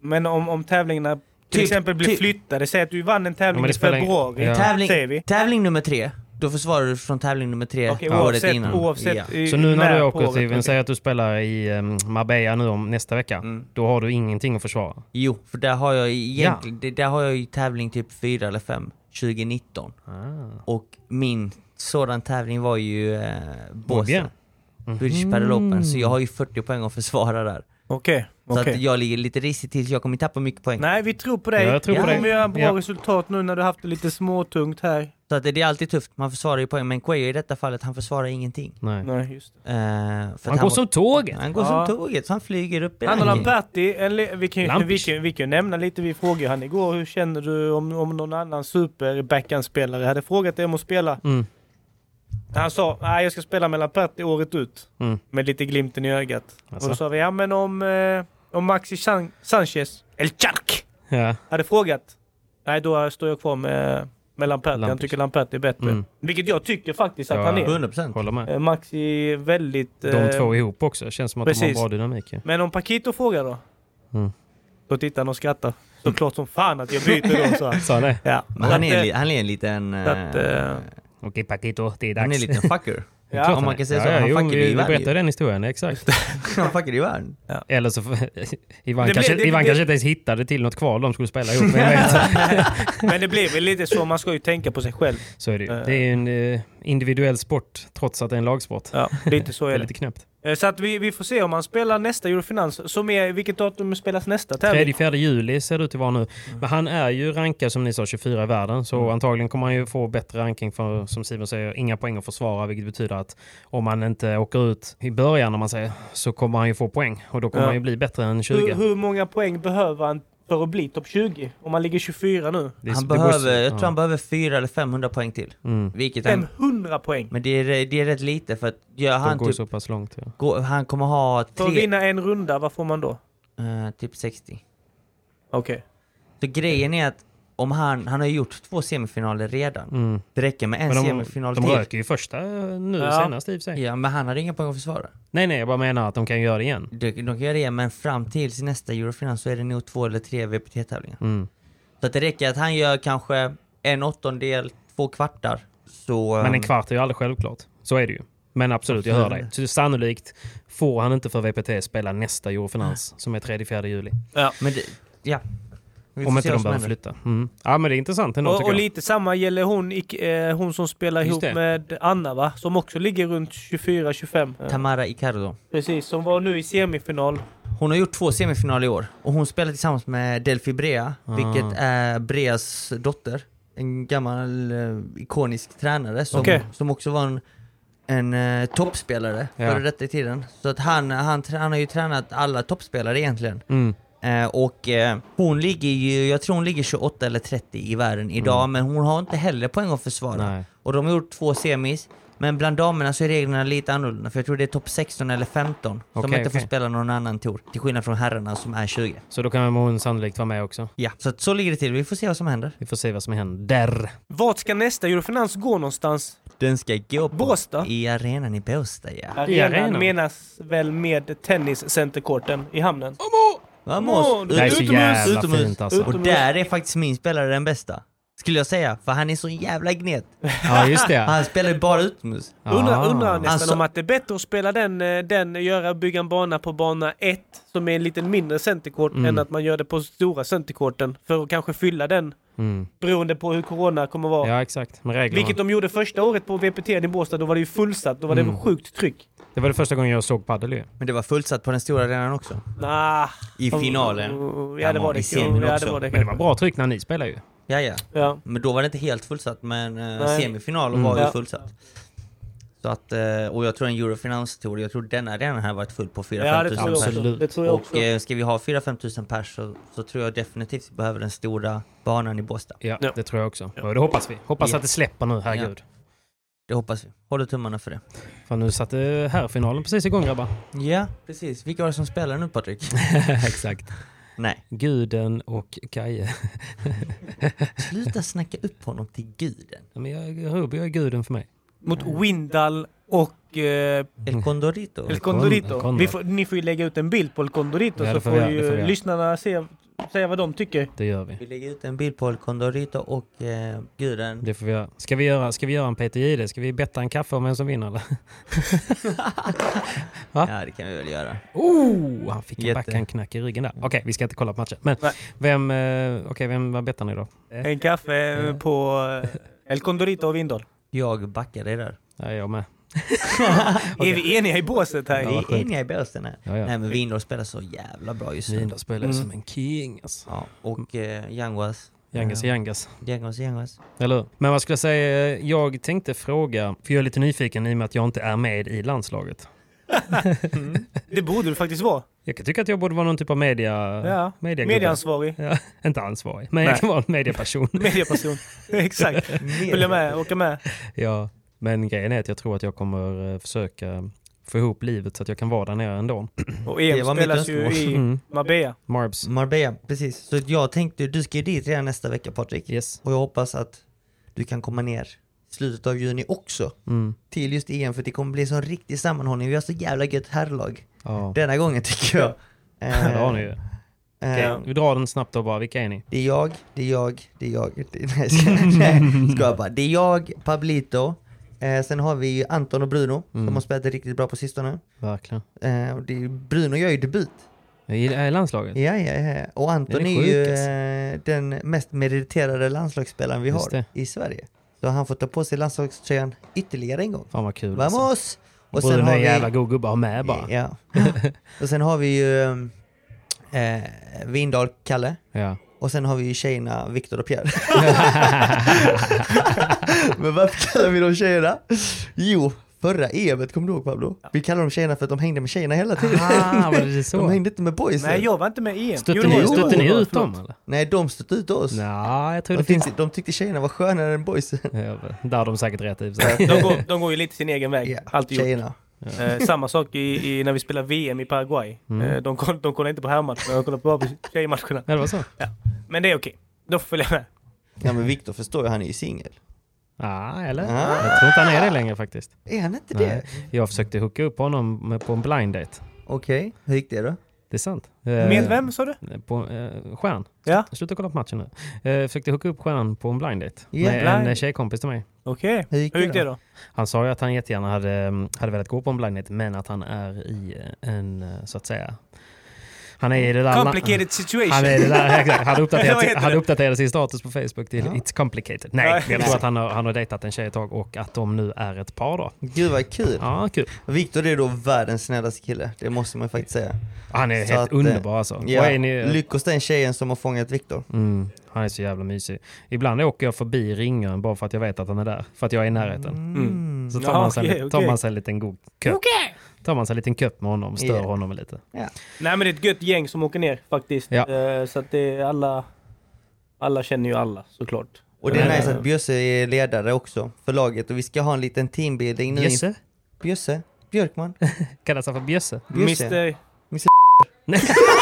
Speaker 4: Men om, om tävlingarna till
Speaker 3: Typ-
Speaker 4: exempel blir
Speaker 3: typ-
Speaker 4: flyttade, säg att du vann en
Speaker 2: Ja,
Speaker 4: tävling
Speaker 2: men det
Speaker 4: i
Speaker 2: spelar ingen-
Speaker 4: februari,
Speaker 2: Ja.
Speaker 4: säger vi.
Speaker 3: Tävling, tävling nummer tre, då försvarar du från tävling nummer tre
Speaker 4: Okej,
Speaker 3: året
Speaker 4: oavsett,
Speaker 3: innan.
Speaker 4: oavsett
Speaker 3: Ja.
Speaker 4: i-
Speaker 2: Så nu när du
Speaker 4: på
Speaker 2: åker
Speaker 4: året.
Speaker 2: till, vi säger att du spelar i um, Marbella nu om nästa vecka,
Speaker 4: Mm.
Speaker 2: då har du ingenting att försvara.
Speaker 3: Jo, för där har jag egentligen, det- där har jag ju tävling typ fyra eller fem 2019. Och min sådan tävling var ju eh,
Speaker 2: bien.
Speaker 3: Båstad. British Padel Open, så jag har ju 40 poäng att försvara där.
Speaker 4: Okej,
Speaker 3: Så
Speaker 4: okej.
Speaker 3: att jag ligger lite risigt till, så jag kommer tappa mycket poäng.
Speaker 4: Nej, vi tror på dig.
Speaker 2: Ja, jag tror
Speaker 4: du
Speaker 3: på dig.
Speaker 4: kommer göra bra
Speaker 2: Ja.
Speaker 4: resultat nu när du haft det lite småtungt här.
Speaker 3: Så att det det är alltid tufft, man försvarar ju poäng. Men Quayo i detta fallet, han försvarar ingenting.
Speaker 2: Nej.
Speaker 4: Nej, just det.
Speaker 3: Eh, för
Speaker 2: Han går som tåget!
Speaker 3: Han går
Speaker 4: Ja.
Speaker 3: som tåget, så han flyger upp i
Speaker 4: Han och
Speaker 3: rankingen.
Speaker 4: Lamperti, en li- vi kan ju vi
Speaker 2: Lampis.
Speaker 4: kan, vi kan ju nämna lite, vi frågade han igår, hur känner du om, om någon annan superbackhandspelare hade frågat dig om att spela?
Speaker 2: Mm.
Speaker 4: Han sa, nej jag ska spela med Lamperti året ut.
Speaker 2: Mm.
Speaker 4: Med lite glimten i ögat. Och
Speaker 2: Alltså.
Speaker 4: då sa vi, ja men om, eh, om Maxi San- Sanchez, El Chark,
Speaker 2: Ja.
Speaker 4: hade frågat. Nej, då står jag kvar med, med Lamperti. Han
Speaker 2: Lampis.
Speaker 4: tycker Lamperti är bättre.
Speaker 2: Mm.
Speaker 4: Vilket jag tycker faktiskt att
Speaker 2: Ja.
Speaker 4: han är.
Speaker 3: 100%.
Speaker 2: Håller med.
Speaker 4: Eh, Maxi är väldigt...
Speaker 2: De
Speaker 3: Ehm,
Speaker 4: eh,
Speaker 2: två ihop också. Känns som att de har
Speaker 4: precis.
Speaker 2: bra dynamik. ju.
Speaker 4: Men om Paquito frågar då?
Speaker 2: Mm.
Speaker 4: Då tittar han och skrattar. Såklart som fan att jag byter då, så.
Speaker 2: Sa han det?
Speaker 4: Ja.
Speaker 3: Men han
Speaker 4: Så
Speaker 3: är,
Speaker 4: att,
Speaker 3: en li-
Speaker 4: eh,
Speaker 3: han är en liten...
Speaker 4: så att,
Speaker 3: eh,
Speaker 4: eh,
Speaker 2: Okej Paquito, det är dags.
Speaker 3: han är en liten fucker.
Speaker 2: Det är klart
Speaker 3: om man
Speaker 2: han är.
Speaker 3: kan säga så, han
Speaker 2: jo,
Speaker 3: fuckade
Speaker 2: vi,
Speaker 3: ju
Speaker 2: vi
Speaker 3: Ivan ju.
Speaker 2: berättade den historien, exakt.
Speaker 3: han fuckar i världen.
Speaker 2: Eller så... Ivan,
Speaker 4: Det
Speaker 2: kanske,
Speaker 4: blev- det-
Speaker 2: Ivan
Speaker 4: det-
Speaker 2: kanske inte ens hittade till något kval de skulle spela ihop. Men jag vet.
Speaker 4: Men det blir väl lite så, man ska ju tänka på sig själv.
Speaker 2: Så är det ju. Det är ju en eh, individuell sport, trots att det är en lagsport.
Speaker 4: Ja, lite så
Speaker 2: Det
Speaker 4: är
Speaker 2: är
Speaker 4: det.
Speaker 2: lite knäppt.
Speaker 4: Eh, Så att vi, vi får se om han spelar nästa Eurofinans, som är, vilket datum spelas nästa tävling?
Speaker 2: 3-4 juli ser det ut att vara nu. Men han är ju rankad som ni sa 24 i världen.
Speaker 3: Mm.
Speaker 2: Så antagligen kommer han ju få bättre ranking för, som Simon säger, inga poäng att försvara. Vilket betyder att om han inte åker ut i början, om man säger, så kommer han ju få poäng. Och då kommer
Speaker 4: Ja.
Speaker 2: han ju bli bättre än 20.
Speaker 4: Hur, hur många poäng behöver han för att bli topp 20? Om han ligger 24 nu?
Speaker 2: Det är- det
Speaker 3: Han
Speaker 2: går-
Speaker 3: behöver, jag
Speaker 2: ja.
Speaker 3: tror han behöver 400 eller 500 poäng till.
Speaker 2: Mm.
Speaker 3: Vilket han,
Speaker 4: 500 poäng!
Speaker 3: men det är, det är rätt lite för att gör
Speaker 2: De
Speaker 3: han
Speaker 2: går
Speaker 3: typ,
Speaker 2: så pass långt. Ja.
Speaker 3: gå, han kommer ha
Speaker 4: För att
Speaker 3: tre,
Speaker 4: vinna en runda, vad får man då?
Speaker 3: eh, typ 60.
Speaker 4: Okej.
Speaker 3: Så grejen är att om han, han har gjort två semifinaler redan.
Speaker 2: Mm.
Speaker 3: Det räcker med en
Speaker 2: Men de,
Speaker 3: semifinal
Speaker 2: de
Speaker 3: till.
Speaker 2: röker ju första eh, nu
Speaker 4: Ja.
Speaker 2: senast i och för sig.
Speaker 3: Ja, men han hade inga poäng att försvara.
Speaker 2: Nej, nej, jag bara menar att de kan göra det igen.
Speaker 3: De, de kan göra det, men fram till sin nästa Eurofinal så är det nog två eller tre VPT-tävlingar.
Speaker 2: Mm.
Speaker 3: Så att det räcker att han gör kanske en åttondel, två kvartar. Så,
Speaker 2: Men en
Speaker 3: ehm,
Speaker 2: kvart är ju aldrig självklart. Så är det ju. Men absolut, jag hör dig. Så sannolikt får han inte för VPT spela nästa Eurofinans som är 3-4 juli.
Speaker 3: men det, ja. Vi får
Speaker 2: Om inte
Speaker 3: se vad
Speaker 2: de
Speaker 3: som
Speaker 2: behöver
Speaker 3: händer.
Speaker 2: flytta. Mm. Ja, men det är intressant ändå
Speaker 4: Och,
Speaker 2: tycker
Speaker 4: och
Speaker 2: jag.
Speaker 4: lite samma gäller hon, ick- eh, hon som spelar
Speaker 2: Just
Speaker 4: ihop
Speaker 2: det.
Speaker 4: med Anna va? Som också ligger runt 24-25. Eh,
Speaker 3: Tamara Icardo.
Speaker 4: Precis, som var nu i semifinal.
Speaker 3: Hon har gjort två semifinaler i år och hon spelar tillsammans med Delphi Brea,
Speaker 2: Ah.
Speaker 3: vilket är Breas dotter. En gammal eh, ikonisk tränare som,
Speaker 4: Okej.
Speaker 3: som också var en, en eh, toppspelare
Speaker 2: Ja.
Speaker 3: före detta i tiden. Så att han, han, trä- han har ju tränat alla toppspelare egentligen.
Speaker 2: Mm.
Speaker 3: Eh, och eh, hon ligger ju, jag tror hon ligger 28 eller 30 i världen idag, men hon har inte heller poäng att försvara.
Speaker 2: Mm. Nej.
Speaker 3: Och de har gjort två semis, Men bland damerna så är reglerna lite annorlunda, för jag tror det är topp 16 eller 15 som
Speaker 2: Okej,
Speaker 3: inte
Speaker 2: okej.
Speaker 3: får spela någon annan tour. Till skillnad från herrarna som är 20.
Speaker 2: Så då kan hon sannolikt vara med också.
Speaker 3: Ja, så att så ligger det till. Vi får se vad som händer.
Speaker 2: Vi får se vad som händer.
Speaker 4: Vart ska nästa Eurofinans gå någonstans?
Speaker 3: Den ska gå på
Speaker 4: Båstad?
Speaker 3: i arenan i Båstad ja.
Speaker 4: Arenan
Speaker 2: arenan?
Speaker 4: menas väl med tenniscenterkorten i hamnen?
Speaker 3: Vamos!
Speaker 4: Åh,
Speaker 2: Det här är så jävla
Speaker 3: utomhus.
Speaker 2: fint alltså.
Speaker 3: Och där är faktiskt min spelare den bästa. Skulle jag säga, för han är så jävla gnet.
Speaker 2: Ja, just det. Ah.
Speaker 3: Han spelar ju bara utomhus.
Speaker 4: Undrar, undrar nästan
Speaker 3: Alltså-
Speaker 4: om att det är bättre att spela den, eh, den göra, bygga en bana på bana 1 som är en lite mindre centerkort än att man gör det på stora centerkorten för att kanske fylla den
Speaker 2: Mm.
Speaker 4: beroende på hur corona kommer vara.
Speaker 2: Ja, exakt. Med reglerna.
Speaker 4: Vilket de gjorde första året på VPT i Båstad, då var det ju fullsatt, då var det sjukt tryck.
Speaker 2: Det var det första gången jag såg padel ju.
Speaker 3: Men det var fullsatt på den stora arenan också.
Speaker 4: Nah.
Speaker 3: I finalen.
Speaker 4: Ja, det
Speaker 3: Ja,
Speaker 4: var
Speaker 3: i
Speaker 4: det.
Speaker 3: semin
Speaker 4: Ja, det
Speaker 3: också.
Speaker 4: var det.
Speaker 2: Men det var bra tryck när ni spelade ju.
Speaker 3: Ja, ja.
Speaker 4: Ja.
Speaker 3: Men då var det inte helt fullsatt, men eh,
Speaker 4: Nej. Mm.
Speaker 3: semifinalen var
Speaker 4: Ja.
Speaker 3: ju fullsatt. Så att, eh, och jag tror en Eurofinanstour, jag tror denna arenan här varit full på 4-5
Speaker 4: Ja, det tror
Speaker 3: 000
Speaker 4: jag också.
Speaker 3: pers.
Speaker 2: Absolut.
Speaker 4: Det tror jag
Speaker 3: Och
Speaker 4: också.
Speaker 3: eh, ska vi ha 4-5 tusen pers så, så tror jag definitivt vi behöver den stora banan i Båstad.
Speaker 2: Ja,
Speaker 4: Ja.
Speaker 2: det tror jag också. Och det hoppas vi. Hoppas
Speaker 3: Ja.
Speaker 2: att det släpper nu, herregud.
Speaker 3: Det hoppas vi. Håller tummarna för det.
Speaker 2: Fan, nu eh, satte herrfinalen precis igång grabbar.
Speaker 3: Ja, precis. Vilka var det som spelar nu Patrik?
Speaker 2: Exakt.
Speaker 3: Nej.
Speaker 2: Guden och Kaje.
Speaker 3: Sluta snacka upp honom till guden.
Speaker 2: Ja, Men jag, Ruby är guden för mig.
Speaker 4: Mot Windal och eh,
Speaker 3: Mm. El Condorito.
Speaker 4: El
Speaker 2: El
Speaker 4: Condorito.
Speaker 2: Condor.
Speaker 4: Vi får, ni får ju lägga ut en bild på El Condorito
Speaker 2: Ja, det
Speaker 4: så
Speaker 2: får
Speaker 4: får
Speaker 2: vi göra, det
Speaker 4: ju
Speaker 2: får vi göra.
Speaker 4: lyssnarna se, säga vad de tycker.
Speaker 2: Det gör vi.
Speaker 4: Mm.
Speaker 3: Vi lägger ut en bild på El Condorito och eh, guden.
Speaker 2: Det får vi göra. Ska vi göra, ska vi göra en Peter Jihde? Ska vi betta en kaffe om vem som vinner eller?
Speaker 3: Ja, det kan vi väl göra.
Speaker 2: Oh, han fick en
Speaker 3: Jätte.
Speaker 2: backhandknack i ryggen där. Okej, vi ska inte kolla på matchen. Men
Speaker 4: Nej.
Speaker 2: vem, eh, okej, vem, vad bettar ni då? Eh,
Speaker 4: En kaffe eh, på eh, El Condorito och Windal.
Speaker 3: Jag backar dig där.
Speaker 2: ja, jag med.
Speaker 4: Är vi eniga i båset här?
Speaker 3: Vi
Speaker 2: vad
Speaker 3: är
Speaker 2: skönt.
Speaker 3: eniga i Båstad här.
Speaker 2: Ja, Mm. ja.
Speaker 3: Nej men Vindor spelar så jävla bra just nu.
Speaker 2: Linda spelar ju som en king alltså.
Speaker 3: Ja, och eh, Yanguas.
Speaker 2: Yangas är
Speaker 3: Eh,
Speaker 2: Yangas.
Speaker 3: Yanguas, Yanguas.
Speaker 2: Eller hur? Men vad skulle jag säga, eh, jag tänkte fråga, för jag är lite nyfiken i och med att jag inte är med i landslaget.
Speaker 4: Det borde du faktiskt vara.
Speaker 2: Jag kan tycka att jag borde vara någon typ av media...
Speaker 4: Ja.
Speaker 2: mediagubbe.
Speaker 4: Medieansvarig.
Speaker 2: Ja, inte ansvarig, men
Speaker 4: Nej.
Speaker 2: jag kan vara en medieperson.
Speaker 4: Medieperson. Exakt. Följa med, åka med.
Speaker 2: ja. Men grejen är att jag tror att jag kommer eh, försöka få ihop livet så att jag kan vara där nere ändå.
Speaker 4: Och
Speaker 3: Det
Speaker 4: EM
Speaker 3: var mitt
Speaker 4: spelas ju
Speaker 3: önskemål.
Speaker 4: i
Speaker 2: Mm.
Speaker 4: Marbella.
Speaker 2: Marbs.
Speaker 3: Marbella, precis. Så jag tänkte, du ska ju dit redan nästa vecka Patrik.
Speaker 2: Yes.
Speaker 3: Och jag hoppas att du kan komma ner i slutet av juni också.
Speaker 2: Mm.
Speaker 3: till just EM för det kommer bli sån riktig sammanhållning. Vi har så jävla gött herrlag
Speaker 2: Ja.
Speaker 3: denna gången tycker jag. Eh,
Speaker 2: Det har ni ju.
Speaker 3: eh,
Speaker 2: Vi drar den snabbt då bara. Vilka är ni?
Speaker 3: det är jag, det är jag, det är jag. Det, nej, ska, nej, ska jag bara. Det är jag, Pablito. Eh, sen har vi ju Anton och Bruno
Speaker 2: Mm.
Speaker 3: som har spelat riktigt bra på sistone.
Speaker 2: Verkligen.
Speaker 3: Eh, och det är, Bruno gör ju debut.
Speaker 2: I i landslaget?
Speaker 3: Ja, ja, ja. Och Anton
Speaker 2: Den
Speaker 3: är,
Speaker 2: är sjuk,
Speaker 3: ju eh, den mest meriterade landslagsspelaren vi
Speaker 2: Just
Speaker 3: har
Speaker 2: det.
Speaker 3: i Sverige. Så han får ta på sig landslagströjan ytterligare en gång.
Speaker 2: Fan vad kul alltså.
Speaker 3: Vamos!
Speaker 2: Och sen Bruno är en jävla god gubbe att ha med bara. Ja.
Speaker 3: Ja. och sen har vi ju eh, Vindal, Kalle. Och sen har vi ju tjejerna Viktor och Pierre. Men varför kallar vi dem tjejerna? Jo, förra EMet, kommer du ihåg Pablo? Vi kallar dem tjejerna för att de hängde med tjejerna hela tiden.
Speaker 2: Ah, var det
Speaker 3: De
Speaker 2: så?
Speaker 3: hängde inte med boysen.
Speaker 4: Nej, jag var inte med i EM. Jo,
Speaker 2: Stötte
Speaker 4: det var
Speaker 2: ni,
Speaker 4: jag.
Speaker 2: stötte ni
Speaker 4: Förlåt,
Speaker 2: ut
Speaker 4: förlåt.
Speaker 2: dem eller?
Speaker 3: Nej, de stötte ut oss.
Speaker 2: Nej, jag tror
Speaker 3: De
Speaker 2: det finns...
Speaker 3: tyckte, de tyckte tjejerna var skönare än boysen.
Speaker 2: Ja, Där har de säkert rätt i och för sig.
Speaker 4: De går, de går ju lite sin egen väg.
Speaker 3: Ja,
Speaker 4: Alltid gjort.
Speaker 3: tjejerna.
Speaker 4: Eh, samma sak i, i, när vi spelar VM i Paraguay.
Speaker 2: Mm.
Speaker 4: Eh, de, koll- de kollar inte på herrmatcherna, de kollar bara på tjejmatcherna.
Speaker 2: Ja, det var så?
Speaker 4: Men det är okej. Då får jag följa med.
Speaker 3: Ja men Viktor förstår ju, han är ju singel.
Speaker 2: Ja, eller?
Speaker 3: Ah.
Speaker 2: Jag tror inte han är det längre faktiskt.
Speaker 3: Är han inte det?
Speaker 2: Nej. Jag försökte hooka upp honom med- på en blind date.
Speaker 3: Okej, hur gick det då?
Speaker 2: Det är sant. Eh,
Speaker 4: Med vem sa du?
Speaker 2: På, eh, stjärn.
Speaker 4: Ja.
Speaker 2: Sluta kolla på matchen nu. Eh, försökte hooka upp stjärnan på en blind date.
Speaker 3: Ja,
Speaker 2: med en
Speaker 4: blind.
Speaker 2: eh, tjejkompis till mig.
Speaker 4: Okej.
Speaker 3: Hur gick
Speaker 4: Hur gick
Speaker 3: det
Speaker 4: det
Speaker 3: då?
Speaker 4: då?
Speaker 2: Han sa ju att han jättegärna hade, mm, hade velat gå på en blind date, men att han är i eh, en, eh, så att säga... Han är i det där...
Speaker 4: Complicated situation.
Speaker 2: Han är i det där, exakt. Han
Speaker 4: Eller vad
Speaker 2: uppdaterade,
Speaker 4: heter
Speaker 2: han
Speaker 4: det?
Speaker 2: uppdaterade sin status på Facebook till It's complicated.
Speaker 4: Ja,
Speaker 2: Nej, jag
Speaker 4: exakt.
Speaker 2: tror att han har, han har dejtat en tjej ett tag och att de nu är ett par då.
Speaker 3: Gud vad kul.
Speaker 2: Ja, kul.
Speaker 3: Viktor är då världens snällaste kille, det måste man ju faktiskt säga.
Speaker 2: Han är
Speaker 3: Så
Speaker 2: helt
Speaker 3: att, eh,
Speaker 2: underbar alltså. Och
Speaker 3: Ja,
Speaker 2: är ni,
Speaker 3: lyckos den tjejen som har fångat Viktor.
Speaker 2: Mm, han är så jävla mysig. Ibland åker jag förbi ringaren bara för att jag vet att han är där. För att jag är i närheten. Mm. Så tar,
Speaker 4: Mm. Ja,
Speaker 2: man sig, en-
Speaker 4: okej,
Speaker 2: tar
Speaker 4: okej.
Speaker 2: man sig en liten god köp. Tar man sig en liten köp med honom, stör
Speaker 3: Yeah.
Speaker 2: honom lite.
Speaker 4: Nej men det är ett gött gäng som åker ner faktiskt.
Speaker 2: Ja.
Speaker 4: Eh, så att det är alla... Alla känner ju alla såklart.
Speaker 3: Och det är
Speaker 2: Nej.
Speaker 3: nice att Bjösse är ledare också för laget och vi ska ha en liten teambuilding nu. inför-
Speaker 2: Jösse?
Speaker 3: Bjösse? Björkman?
Speaker 2: Kallas han för Bjösse?
Speaker 3: Bjösse?
Speaker 6: Mr...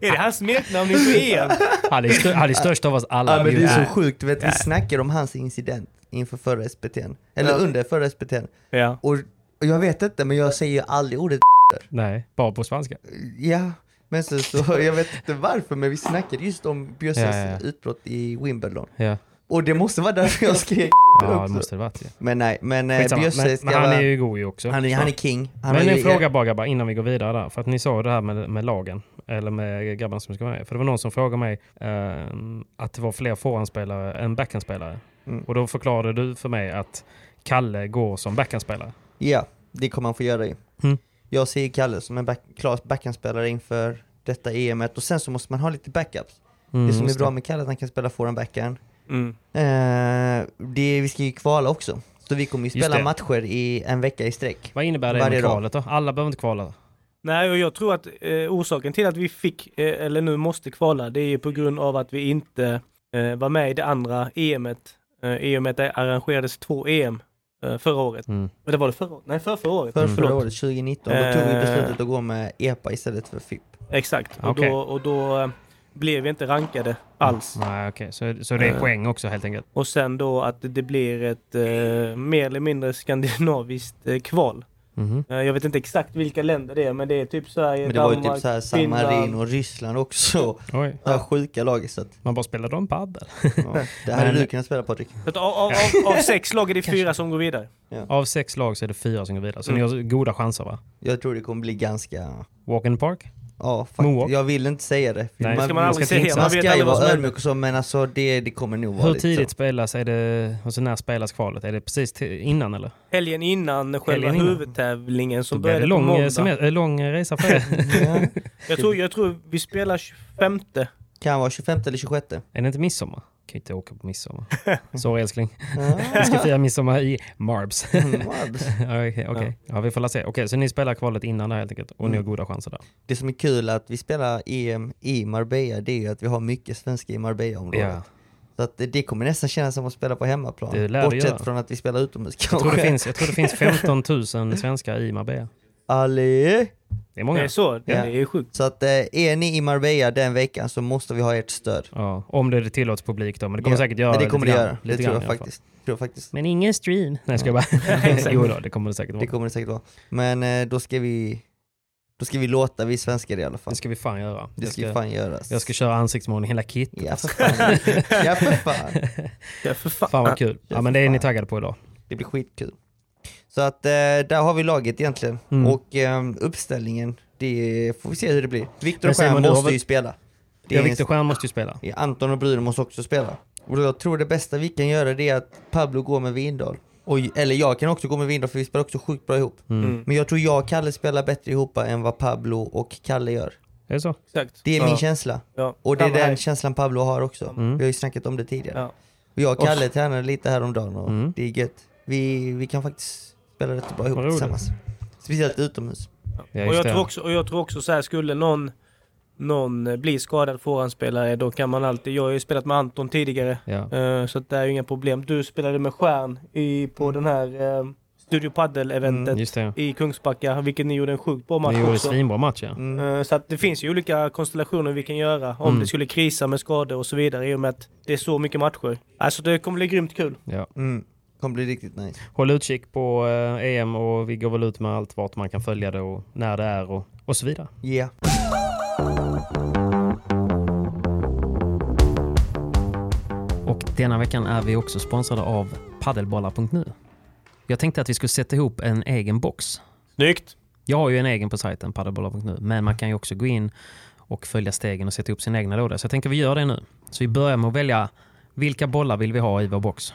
Speaker 6: Är det hans smeknamn inför EM?
Speaker 2: Han är, stö- han är störst av oss alla.
Speaker 3: Ja men det är så sjukt, vet,
Speaker 2: Ja.
Speaker 3: vi snackade om hans incident inför förra SPT'n. Eller
Speaker 6: Ja.
Speaker 3: under förra SPT'n.
Speaker 6: Ja.
Speaker 3: Och, och jag vet inte, men jag säger ju aldrig ordet
Speaker 2: Nej, bara på spanska.
Speaker 3: ja. Men så, så, jag vet inte varför, men vi snackade just om Bjösses
Speaker 2: Ja, ja, ja.
Speaker 3: utbrott i Wimbledon.
Speaker 2: Ja,
Speaker 3: Och det måste vara därför jag skrek
Speaker 2: ja det
Speaker 3: också.
Speaker 2: måste det varit. Ja.
Speaker 3: Men nej, men eh,
Speaker 2: Skitsamma.
Speaker 3: Bjösse
Speaker 2: Men,
Speaker 3: ska
Speaker 2: men han
Speaker 3: vara...
Speaker 2: är ju god ju också.
Speaker 3: han, är,
Speaker 2: Så.
Speaker 3: han är king. Han
Speaker 2: men
Speaker 3: har
Speaker 2: en
Speaker 3: ju-
Speaker 2: fråga bara grabbar, innan vi går vidare där. För att ni sa det här med, med lagen, eller med grabbarna som ska vara med. För det var någon som frågade mig ehm, att det var fler forehandspelare än backhandspelare.
Speaker 3: Mm.
Speaker 2: Och då förklarade du för mig att Kalle går som backhandspelare.
Speaker 3: Ja, det kommer han få göra ju.
Speaker 2: Mm.
Speaker 3: Jag ser Kalle som en back, klar backhandspelare inför detta EMet och sen så måste man ha lite backups.
Speaker 2: Mm,
Speaker 3: det som är
Speaker 2: just
Speaker 3: bra med Kalle är att han kan spela forehand backhand.
Speaker 6: Mm.
Speaker 3: Eh, det, vi ska ju kvala också. Så vi kommer ju
Speaker 2: Just
Speaker 3: spela
Speaker 2: det.
Speaker 3: matcher i en vecka i sträck.
Speaker 2: Vad innebär det
Speaker 3: Varje
Speaker 2: med
Speaker 3: dag.
Speaker 2: kvalet då? Alla behöver inte kvala.
Speaker 6: Nej, och jag tror att eh, orsaken till att vi fick, eh, eller nu måste kvala, det är ju på grund av att vi inte eh, var med i det andra EMet. Eh, EMet arrangerades två EM eh, förra året.
Speaker 2: Mm.
Speaker 6: Eller var det förra året? Nej, förra, förra året.
Speaker 3: För
Speaker 2: Mm.
Speaker 3: förra
Speaker 6: Förlåt.
Speaker 3: året, 2019, då tog vi
Speaker 6: Eh.
Speaker 3: beslutet att gå med EPA istället för FIP.
Speaker 6: Exakt. Och
Speaker 2: Okej.
Speaker 6: då, och då eh, blev vi inte rankade
Speaker 3: Mm.
Speaker 6: alls.
Speaker 2: Nej, okej. Så, så det är
Speaker 6: Eh.
Speaker 2: poäng också helt enkelt.
Speaker 6: Och sen då att det blir ett eh, mer eller mindre skandinaviskt eh, kval.
Speaker 2: Mhm.
Speaker 6: Eh, jag vet inte exakt vilka länder det är, men det är typ Sverige,
Speaker 3: Men det var
Speaker 6: Danmark,
Speaker 3: ju typ såhär San
Speaker 6: Finland.
Speaker 3: Marino och Ryssland också.
Speaker 2: Oj.
Speaker 3: Det här sjuka laget så att,
Speaker 2: Man bara spelar dem padel.
Speaker 3: ja, Det hade
Speaker 2: Men-
Speaker 3: du kunnat spela Patrik.
Speaker 6: Så att av, av, av, av sex lag är det fyra som går vidare.
Speaker 2: Av sex lag så är det fyra som går vidare. Så ni har goda chanser va?
Speaker 3: Jag tror det kommer bli ganska
Speaker 2: Walk in the park?
Speaker 3: Ja,
Speaker 2: Moonwalk.
Speaker 3: faktiskt. Jag vill inte säga det.
Speaker 2: Nej, det
Speaker 3: man,
Speaker 2: ska
Speaker 6: ska
Speaker 2: man
Speaker 6: man
Speaker 3: man,
Speaker 2: aldrig
Speaker 6: aldrig
Speaker 2: säga.
Speaker 6: säga.
Speaker 2: finnas.
Speaker 6: Man vet
Speaker 3: ska ju
Speaker 6: aldrig vad
Speaker 3: vara
Speaker 6: som
Speaker 3: ödmjuk och så, men alltså det, det kommer nog vara
Speaker 2: Hur
Speaker 3: lite
Speaker 2: tidigt
Speaker 3: så.
Speaker 2: spelas? Är det, alltså när spelas kvalet? Är det precis till, innan eller?
Speaker 6: Helgen innan själva
Speaker 2: Helgen innan.
Speaker 6: huvudtävlingen
Speaker 2: Så
Speaker 6: som
Speaker 2: blir det
Speaker 6: började på
Speaker 2: lång, eh,
Speaker 6: måndag.
Speaker 2: semer- eh, lång resa för er.
Speaker 3: Ja,
Speaker 6: Jag tror, jag tror vi spelar 25.
Speaker 3: kan vara 25 eller 26.
Speaker 2: är det inte midsommar? Kan ju inte åka på midsommar. Sorry älskling.
Speaker 3: Ja.
Speaker 2: Vi ska fira midsommar i Marbs.
Speaker 3: Wow.
Speaker 2: Okej, okay, ja, vi får la se. Okej, så ni spelar kvalet innan där helt enkelt och ni har goda chanser där.
Speaker 3: det som är kul att vi spelar EM i Marbella, det är ju att vi har mycket svenskar i Marbella-området.
Speaker 2: Ja.
Speaker 3: Så att det- det kommer nästan kännas som att spela på hemmaplan.
Speaker 2: Det lär det göra.
Speaker 3: Bortsett från att vi spelar utomhus
Speaker 2: Jag,
Speaker 3: kanske.
Speaker 2: tror det finns, jag tror det finns 15 000 svenskar i Marbella.
Speaker 3: Allé!
Speaker 2: Det är
Speaker 6: Det
Speaker 2: många.
Speaker 6: är Eh, så. Det
Speaker 3: Ja.
Speaker 6: är ju sjukt.
Speaker 3: Så att eh, är ni i Marbella den veckan så måste vi ha ert stöd.
Speaker 2: Ja, om det tillåts publik då, men det kommer
Speaker 3: Ja.
Speaker 2: säkert göra
Speaker 3: Men det kommer det
Speaker 2: lite grann,
Speaker 3: göra. Det
Speaker 2: lite
Speaker 3: tror
Speaker 2: grann
Speaker 3: jag
Speaker 2: i alla fall.
Speaker 3: faktiskt. Tror jag faktiskt.
Speaker 2: Men ingen stream. Nej, jag ska bara... jo då, det kommer det säkert
Speaker 3: Det
Speaker 2: vara.
Speaker 3: kommer det säkert vara. Men eh, då ska vi då ska vi låta vi svenskar i alla fall.
Speaker 2: Det ska vi fan göra.
Speaker 3: Det
Speaker 2: Jag
Speaker 3: ska ju
Speaker 2: ska,
Speaker 3: fan göras.
Speaker 2: jag ska köra ansiktsmålning hela kit.
Speaker 3: Ja för fan. ja för fan.
Speaker 6: Ja, för fan.
Speaker 2: Fan vad kul. Ja, men det är ni taggade på idag.
Speaker 3: Det blir skitkul. Så att eh, där har vi laget egentligen.
Speaker 2: Mm.
Speaker 3: Och eh, uppställningen, det får vi se hur det blir. Viktor
Speaker 2: Men
Speaker 3: och Stjärn
Speaker 2: Simon, du
Speaker 3: måste
Speaker 2: har väl-
Speaker 3: ju spela. Det
Speaker 2: Ja,
Speaker 3: är
Speaker 2: Viktor Stjern måste ju spela.
Speaker 3: en... Anton och Bryn måste också spela. Och jag tror det bästa vi kan göra det är att Pablo går med Windahl. Och, eller jag kan också gå med Windahl för vi spelar också sjukt bra ihop.
Speaker 2: Mm.
Speaker 3: Men jag tror jag och Kalle spelar bättre ihop än vad Pablo och Kalle gör.
Speaker 2: Är det så?
Speaker 6: Exakt.
Speaker 3: Det är min
Speaker 6: Ja.
Speaker 3: känsla.
Speaker 6: Ja.
Speaker 3: Och det är
Speaker 6: Samma
Speaker 3: den
Speaker 6: här.
Speaker 3: känslan Pablo har också.
Speaker 2: Mm.
Speaker 3: Vi har ju snackat om det tidigare.
Speaker 6: Ja.
Speaker 3: Och jag och Kalle tränade lite häromdagen och det är gött. Vi, vi kan faktiskt spela rätt bra ihop
Speaker 2: Mm. Vad roligt.
Speaker 3: tillsammans. Speciellt utomhus.
Speaker 2: Ja,
Speaker 6: och,
Speaker 2: just
Speaker 6: jag
Speaker 2: det.
Speaker 6: tror också, och jag tror också så här, skulle någon, någon eh, bli skadad forehandspelare, då kan man alltid... Jag har ju spelat med Anton tidigare,
Speaker 2: Ja.
Speaker 6: eh, så att det är ju inga problem. Du spelade med Stjärn i, på den här eh, Studio Padel-eventet
Speaker 2: Mm. Just det.
Speaker 6: i Kungsbacka, vilket ni gjorde en sjukt bra match
Speaker 2: Ni gjorde
Speaker 6: också.
Speaker 2: svinbra Mm. match ja.
Speaker 6: Eh, Så att det finns ju olika konstellationer vi kan göra
Speaker 2: Mm.
Speaker 6: om det skulle krisa med skador och så vidare i och med att det är så mycket matcher. Alltså det kommer bli grymt kul.
Speaker 2: ja.
Speaker 3: Mm. Kommer bli riktigt nice.
Speaker 2: Håll utkik på eh, EM och vi går väl ut med allt vart man kan följa det och när det är och, och så vidare.
Speaker 3: Yeah.
Speaker 2: Och denna veckan är vi också sponsrade av paddelbollar.nu. Jag tänkte att vi skulle sätta ihop en egen box.
Speaker 6: Snyggt!
Speaker 2: Jag har ju en egen på sajten, paddelbollar.nu, men man kan ju också gå in och följa stegen och sätta upp sin egna låda. Så jag tänker vi gör det nu. Så vi börjar med att välja vilka bollar vill vi ha i vår box?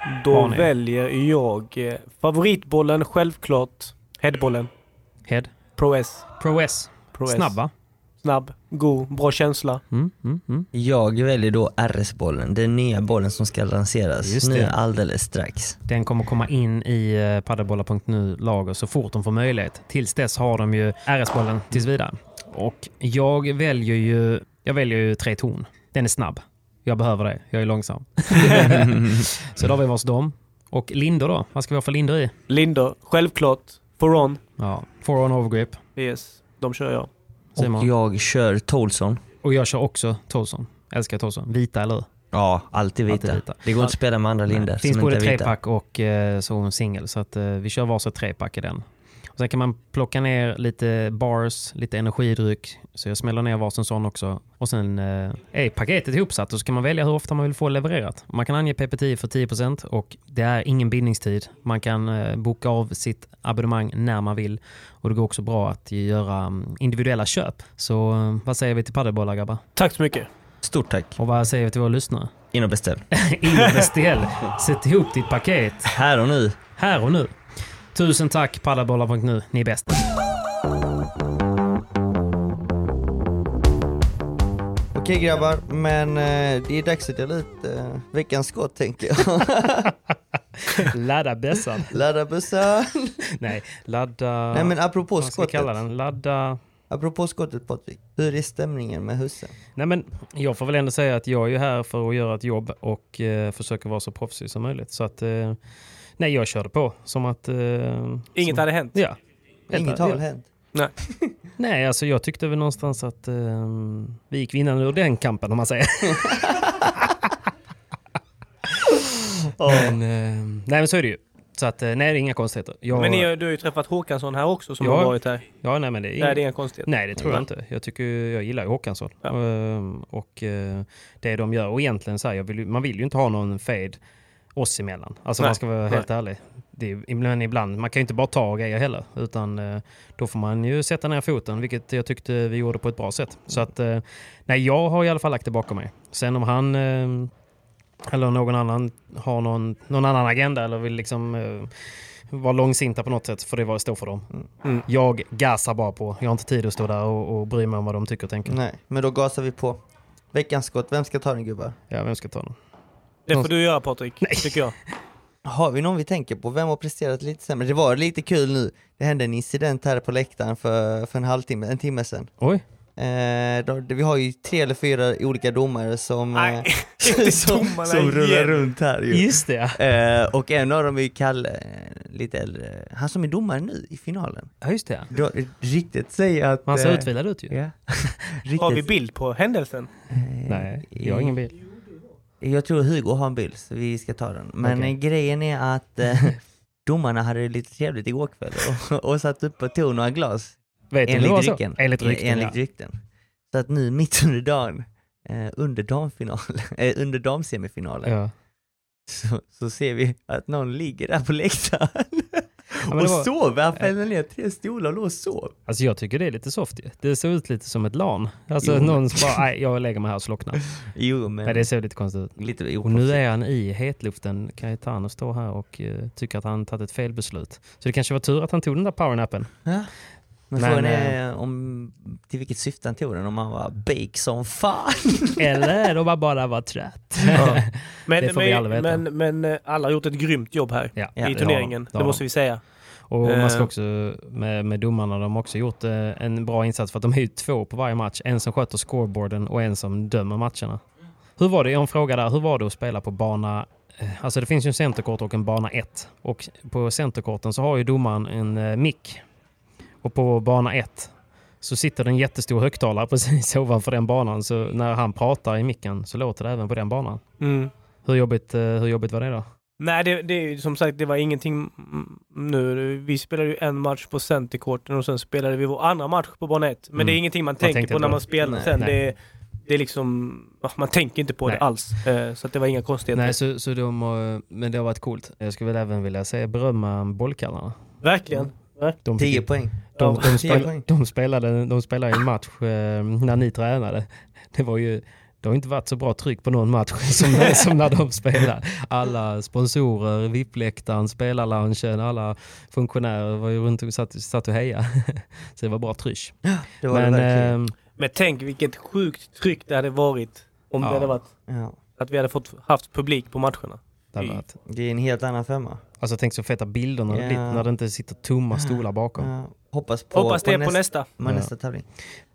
Speaker 2: Har
Speaker 6: Då
Speaker 2: ni?
Speaker 6: väljer jag eh, favoritbollen självklart. Headbollen.
Speaker 2: Head,
Speaker 6: Pro S.
Speaker 2: Pro S,
Speaker 6: Pro S.
Speaker 2: snabba.
Speaker 6: Snabb, god, bra känsla.
Speaker 2: Mm, mm, mm.
Speaker 3: Jag väljer då RS-bollen, den nya bollen som ska lanseras
Speaker 2: Just det. nu
Speaker 3: alldeles strax.
Speaker 2: Den kommer komma in i eh, padelbollar.nu lager så fort de får
Speaker 6: Mm.
Speaker 2: möjlighet. Tills dess har de ju RS-bollen tills vidare. Och jag väljer ju Jag väljer ju tre ton. Den är snabb. Jag behöver det. Jag är långsam. så då har vi oss dem. Och lindor då? Vad ska vi ha för lindor i?
Speaker 4: Lindor, självklart. Foron.
Speaker 2: Ja, four on overgrip.
Speaker 4: Yes, de kör jag.
Speaker 3: Och
Speaker 2: Simon.
Speaker 3: jag kör Tolson.
Speaker 2: Och jag kör också Tolson. Älskar Tolson. Vita, eller hur?
Speaker 3: Ja, alltid vita.
Speaker 2: Alltid vita.
Speaker 3: Det går inte att spela med andra lindor
Speaker 2: Finns
Speaker 3: som
Speaker 2: både
Speaker 3: inte är vita.
Speaker 2: trepack och eh, så en singel. Så att, eh, vi kör varsitt trepack i den. Och sen kan man plocka ner lite bars, lite energidryck. Så jag smäller ner varsin sån också. Och sen eh, är paketet ihopsatt och så kan man välja hur ofta man vill få levererat. Man kan ange PP10 för 10% och det är ingen bindningstid. Man kan eh, boka av sitt abonnemang när man vill. Och det går också bra att göra mm, individuella köp. Så eh, vad säger vi till padelbollar grabbar?
Speaker 4: Tack så mycket.
Speaker 3: Stort tack.
Speaker 2: Och vad säger vi till våra lyssnare?
Speaker 3: In och beställ.
Speaker 2: In och beställ. Sätt ihop ditt paket.
Speaker 3: Här och nu.
Speaker 2: Här och nu. Tusen tack pallabollar.nu. Ni är bäst.
Speaker 3: Okej grabbar, men eh, det är dags att dela ut eh, veckans skott tänker jag.
Speaker 2: Ladda bässan.
Speaker 3: Ladda bussen!
Speaker 2: Nej, ladda...
Speaker 3: Nej men apropå
Speaker 2: vad ska vi
Speaker 3: skottet.
Speaker 2: kalla den? Ladda...
Speaker 3: Apropå skottet Patrik. Hur är stämningen med husen?
Speaker 2: Nej men jag får väl ändå säga att jag är ju här för att göra ett jobb och eh, försöker vara så proffsig som möjligt. Så att... Eh, nej, jag körde på. Som att... Eh,
Speaker 4: Inget
Speaker 2: som,
Speaker 4: hade hänt.
Speaker 2: Ja.
Speaker 3: Inget
Speaker 2: Ja.
Speaker 3: har väl hänt?
Speaker 2: Nej, alltså jag tyckte väl någonstans att eh, vi gick vinnande ur den kampen om man säger. men, eh, nej men så är det ju. Så att, eh, nej det är inga konstigheter. Jag,
Speaker 4: Men ni, har- du har ju träffat Håkansson här också som
Speaker 2: Ja.
Speaker 4: har varit här.
Speaker 2: ja, nej, men det är inga,
Speaker 4: Nej, det är inga konstigheter.
Speaker 2: Nej, det tror jag inte. Jag, tycker, jag gillar ju Håkansson.
Speaker 4: Ja.
Speaker 2: Ehm, och eh, det de gör. Och egentligen så här, jag vill, ju- man vill ju inte ha någon fade oss emellan. Alltså
Speaker 4: Nej,
Speaker 2: man ska vara helt ärlig. Det är, ju- men ibland, man kan ju inte bara ta grejer heller. Utan eh, då får man ju sätta ner foten, vilket jag tyckte vi gjorde på ett bra sätt. Så att, eh, nej, jag har i alla fall lagt det bakom mig. Sen om han eh, eller någon annan har någon, någon annan agenda eller vill liksom eh, vara långsinta på något sätt, för det var står för dem.
Speaker 3: Mm.
Speaker 2: Jag gasar bara på. Jag har inte tid att stå där och, och bry mig om vad de tycker och tänker.
Speaker 3: Nej, men då gasar vi på. Veckans skott, vem ska ta den gubbar?
Speaker 2: Ja, vem ska ta den?
Speaker 4: Det får du göra Patrik,
Speaker 2: Nej.
Speaker 4: tycker jag.
Speaker 3: Har vi någon vi tänker på? Vem har presterat lite sämre? Det var lite kul nu. Det hände en incident här på läktaren för, för en halvtimme, en timme sedan.
Speaker 2: Oj.
Speaker 3: Eh, då, vi har ju tre eller fyra olika domare som,
Speaker 4: Nej,
Speaker 3: eh,
Speaker 4: inte
Speaker 3: som,
Speaker 4: domarna
Speaker 3: som rullar
Speaker 4: igen.
Speaker 3: runt här ju.
Speaker 2: Just det, ja.
Speaker 3: Eh, och en av dem är ju Kalle, eh, lite äldre, han som är domare nu i finalen.
Speaker 2: ja. Just det. ja.
Speaker 3: Då, eh, riktigt säger att...
Speaker 2: Man ser
Speaker 3: eh,
Speaker 2: utvilad ut ju.
Speaker 3: Ja.
Speaker 4: Har vi
Speaker 3: riktigt, Eh,
Speaker 4: bild på händelsen?
Speaker 2: Nej, jag har ingen bil.
Speaker 3: jag tror Hugo har en bild, så vi ska ta den. Men
Speaker 2: Okej.
Speaker 3: eh, grejen är att eh, domarna hade det lite trevligt igår kväll och, och satt upp och tog några glas.
Speaker 2: Vet du om det var
Speaker 3: Enligt
Speaker 2: så?
Speaker 3: rykten.
Speaker 2: Enligt rykten,
Speaker 3: Enligt
Speaker 2: ja.
Speaker 3: rykten. Så att nu mitt under dagen, eh, under damfinalen, eh, under damsemifinalen,
Speaker 2: ja.
Speaker 3: så, så ser vi att någon ligger där på läktaren
Speaker 2: men
Speaker 3: och
Speaker 2: det var-
Speaker 3: sover. Han fällde ner tre stolar och låg och sov.
Speaker 2: Alltså jag tycker det är lite soft ju. Det ser ut lite som ett LAN. Alltså
Speaker 3: Jo.
Speaker 2: någon som bara, nej jag lägger mig här och slocknar.
Speaker 3: Jo, men...
Speaker 2: Nej det ser lite konstigt ut.
Speaker 3: Lite
Speaker 2: Och nu är han i hetluften. Cayetano står här och eh, tycker att han tagit ett felbeslut. Så det kanske var tur att han tog den där powernappen.
Speaker 3: Ja.
Speaker 2: Men,
Speaker 3: Men, frågan är om, till vilket syfte han tog den, om han var bake som fan.
Speaker 2: Eller om han bara var trött.
Speaker 4: Men,
Speaker 2: Det får vi alla
Speaker 4: men,
Speaker 2: veta.
Speaker 4: men, men eh, alla har gjort ett grymt jobb här
Speaker 2: Ja,
Speaker 3: det har
Speaker 4: i
Speaker 3: de.
Speaker 4: turneringen.
Speaker 2: har
Speaker 4: det
Speaker 2: de.
Speaker 4: måste vi säga.
Speaker 2: Och man ska
Speaker 4: Eh.
Speaker 2: också, med, med domarna, de har också gjort eh, en bra insats för att de är ju två på varje match. En som sköter scoreboarden och en som dömer matcherna. Hur var det, jag har en fråga där, hur var det att spela på bana, eh, alltså det finns ju en centerkort och en bana 1. Och på centerkorten så har ju domaren en eh, mick. Och på bana 1 så sitter det en jättestor högtalare precis ovanför den banan. Så när han pratar i micken så låter det även på den banan.
Speaker 4: Mm.
Speaker 2: Hur jobbigt, eh, hur jobbigt var det då?
Speaker 4: Nej, det, det är ju som sagt, det var ingenting mm, nu. Vi spelade ju en match på centerkorten och sen spelade vi vår andra match på bana 1. Men
Speaker 2: Mm.
Speaker 4: det är ingenting man
Speaker 2: tänkte
Speaker 4: tänker på
Speaker 2: på
Speaker 4: när
Speaker 2: det.
Speaker 4: man spelar
Speaker 3: Nej,
Speaker 4: sen.
Speaker 2: nej.
Speaker 4: Det, är- det är liksom, ja, man tänker inte på
Speaker 2: Nej.
Speaker 4: det alls. Eh, Så att det var inga konstigheter.
Speaker 2: Nej, så, så de, har- men det har varit coolt. Jag skulle väl även vilja säga berömma bollkallarna.
Speaker 4: Verkligen.
Speaker 2: De, fick-
Speaker 3: 10 poäng.
Speaker 2: de, de,
Speaker 3: tio
Speaker 2: spel,
Speaker 3: poäng.
Speaker 2: de, spelade, de spelade en match eh, när ni tränade. Det var ju... Det har inte varit så bra tryck på någon match som, när- som när de spelar. Alla sponsorer, VIP-läktaren, spelarloungen, alla funktionärer var ju runt och satt, satt och hejade. Så det var bra trysch.
Speaker 3: Det var det verkligen.
Speaker 2: ehm,
Speaker 4: Men tänk vilket sjukt tryck det hade varit om
Speaker 2: Ja.
Speaker 4: det hade varit
Speaker 3: Ja.
Speaker 4: att vi hade fått haft publik på matcherna.
Speaker 2: det hade varit-
Speaker 3: Det är en helt annan femma.
Speaker 2: alltså tänk så feta bilder när, det
Speaker 3: Ja.
Speaker 2: blir- när det inte sitter tomma stolar bakom.
Speaker 3: Ja. Hoppas på,
Speaker 4: Hoppas det är på nästa.
Speaker 3: Men
Speaker 2: Ja.
Speaker 3: nästa tävling.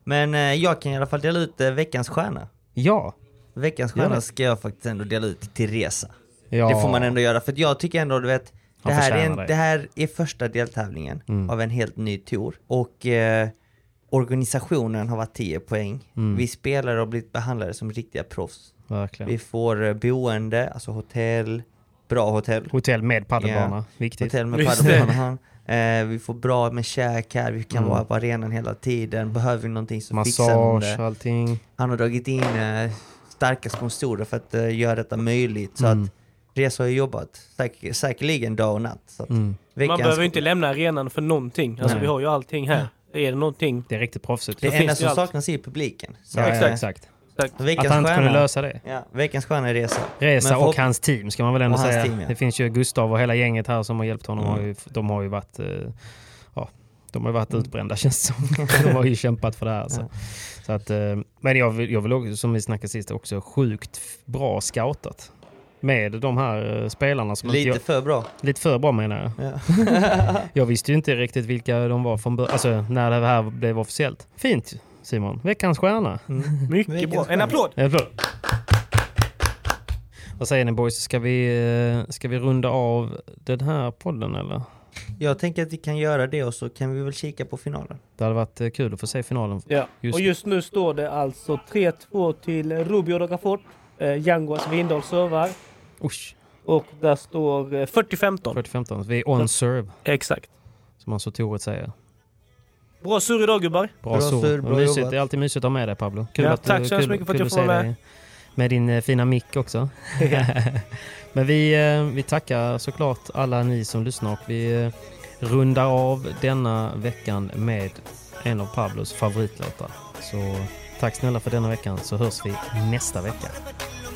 Speaker 3: Men eh, jag kan i alla fall dela ut eh, veckans stjärna.
Speaker 2: Ja.
Speaker 3: Veckans
Speaker 2: Gör
Speaker 3: stjärna
Speaker 2: det.
Speaker 3: ska jag faktiskt ändå dela ut till Resa.
Speaker 2: ja.
Speaker 3: Det får man ändå göra, för att jag tycker ändå du vet
Speaker 2: Han
Speaker 3: det här, är en,
Speaker 2: förtjänar det.
Speaker 3: det här är första deltävlingen
Speaker 2: Mm.
Speaker 3: av en helt ny tour och eh, organisationen har varit 10 poäng.
Speaker 2: Mm.
Speaker 3: Vi spelare har blivit behandlade som riktiga proffs.
Speaker 2: Verkligen.
Speaker 3: Vi får eh, boende, alltså hotell, bra hotell.
Speaker 2: Hotell med padelbana.
Speaker 3: Ja.
Speaker 2: Viktigt.
Speaker 3: Hotell med
Speaker 6: Just
Speaker 3: padelbanan. Eh, vi får bra med käk här, vi kan
Speaker 2: Mm.
Speaker 3: vara på arenan hela tiden. Behöver vi någonting så fixar de det.
Speaker 2: Massage, allting.
Speaker 3: Han har dragit in eh, starka sponsorer för att eh, göra detta möjligt. Så
Speaker 2: Mm.
Speaker 3: att Resa har ju jobbat säk- säkerligen dag och natt. Så att
Speaker 2: Mm.
Speaker 3: veckans-
Speaker 7: Man behöver ju inte lämna arenan för någonting. Alltså
Speaker 2: Nej.
Speaker 7: vi har ju allting här. Är det någonting?
Speaker 2: Det är riktigt proffsigt.
Speaker 3: det
Speaker 7: så
Speaker 3: enda
Speaker 7: finns det
Speaker 3: som
Speaker 7: ju allt.
Speaker 3: saknas är publiken. Så
Speaker 2: ja,
Speaker 3: att,
Speaker 2: exakt.
Speaker 3: eh,
Speaker 2: exakt.
Speaker 3: Veckans
Speaker 2: Att han inte kunde
Speaker 3: stjärna-
Speaker 2: lösa det.
Speaker 3: Ja, veckans stjärna är Resa.
Speaker 2: Resa
Speaker 3: Men förhopp-
Speaker 2: och hans team ska man väl ändå
Speaker 3: Och hans
Speaker 2: säga.
Speaker 3: team, ja.
Speaker 2: Det finns ju Gustav och hela gänget här som har hjälpt honom.
Speaker 3: Mm. Mm.
Speaker 2: Har ju, de har ju varit, eh, ja, de har ju varit utbrända känns det som. De har ju kämpat för det här. Så.
Speaker 3: Ja.
Speaker 2: Så att, eh, men jag vill, jag vill också, som vi snackade sist, också sjukt f- bra scoutat. Med de här eh, spelarna som inte
Speaker 3: Lite
Speaker 2: jag,
Speaker 3: för bra.
Speaker 2: lite för bra menar jag.
Speaker 3: Ja.
Speaker 2: Jag visste ju inte riktigt vilka de var från början, alltså när det här blev officiellt. Fint Simon, veckans stjärna.
Speaker 6: Mycket
Speaker 3: Veckans
Speaker 6: bra. En
Speaker 3: stjärna.
Speaker 6: applåd!
Speaker 2: En applåd. Vad säger ni boys? Ska vi, eh, ska vi runda av den här podden eller?
Speaker 3: Jag tänker att vi kan göra det och så kan vi väl kika på finalen.
Speaker 2: Det hade varit eh, kul att få se finalen.
Speaker 6: Ja.
Speaker 2: Just
Speaker 6: och
Speaker 2: det.
Speaker 6: just nu står det alltså 3-2 till Rubio Rocafort. Eh, Django alltså Windahl servar.
Speaker 2: Usch,
Speaker 6: Och där står eh, 40-15.
Speaker 2: 40-15. Vi är on serve,
Speaker 6: Exakt.
Speaker 2: som Ansor-Toret säger.
Speaker 6: Bra sur idag gubbar.
Speaker 2: Bra,
Speaker 3: Bra
Speaker 2: sur.
Speaker 3: sur,
Speaker 2: Vad
Speaker 3: bra
Speaker 2: mysigt.
Speaker 3: jobbat.
Speaker 2: Det är alltid mysigt att ha med dig Pablo. Kul
Speaker 6: Ja,
Speaker 2: att, du-
Speaker 6: tack så hemskt
Speaker 2: kul-
Speaker 6: mycket för att
Speaker 2: kul
Speaker 6: jag får
Speaker 2: se
Speaker 6: vara med.
Speaker 2: dig Med din eh, fina mick också. Men vi, eh, vi tackar såklart alla ni som lyssnar och vi eh, rundar av denna veckan med en av Pablos favoritlåtar. Så tack snälla för denna veckan så hörs vi nästa vecka.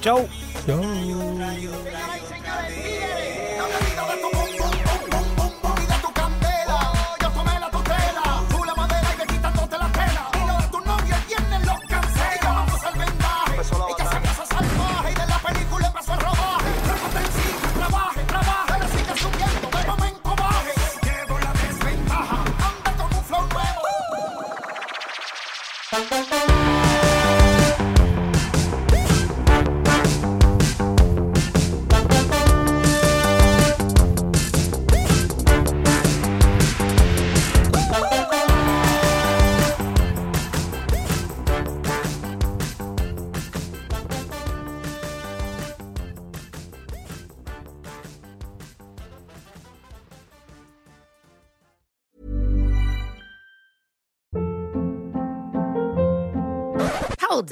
Speaker 6: Ciao!
Speaker 4: Mira tu candela, yo tomé la tutela, tú la madera y le quitándote la tela. Uno de tus novios el viernes los cancela. Ella vamos al vendaje, ella se casa salvaje y de la película empezó el rodaje. Trápate encima, trabaje, trabaje, ahora sigue subiendo, de momento baje. Llevo la desventaja, anda con un flow nuevo.
Speaker 8: Hold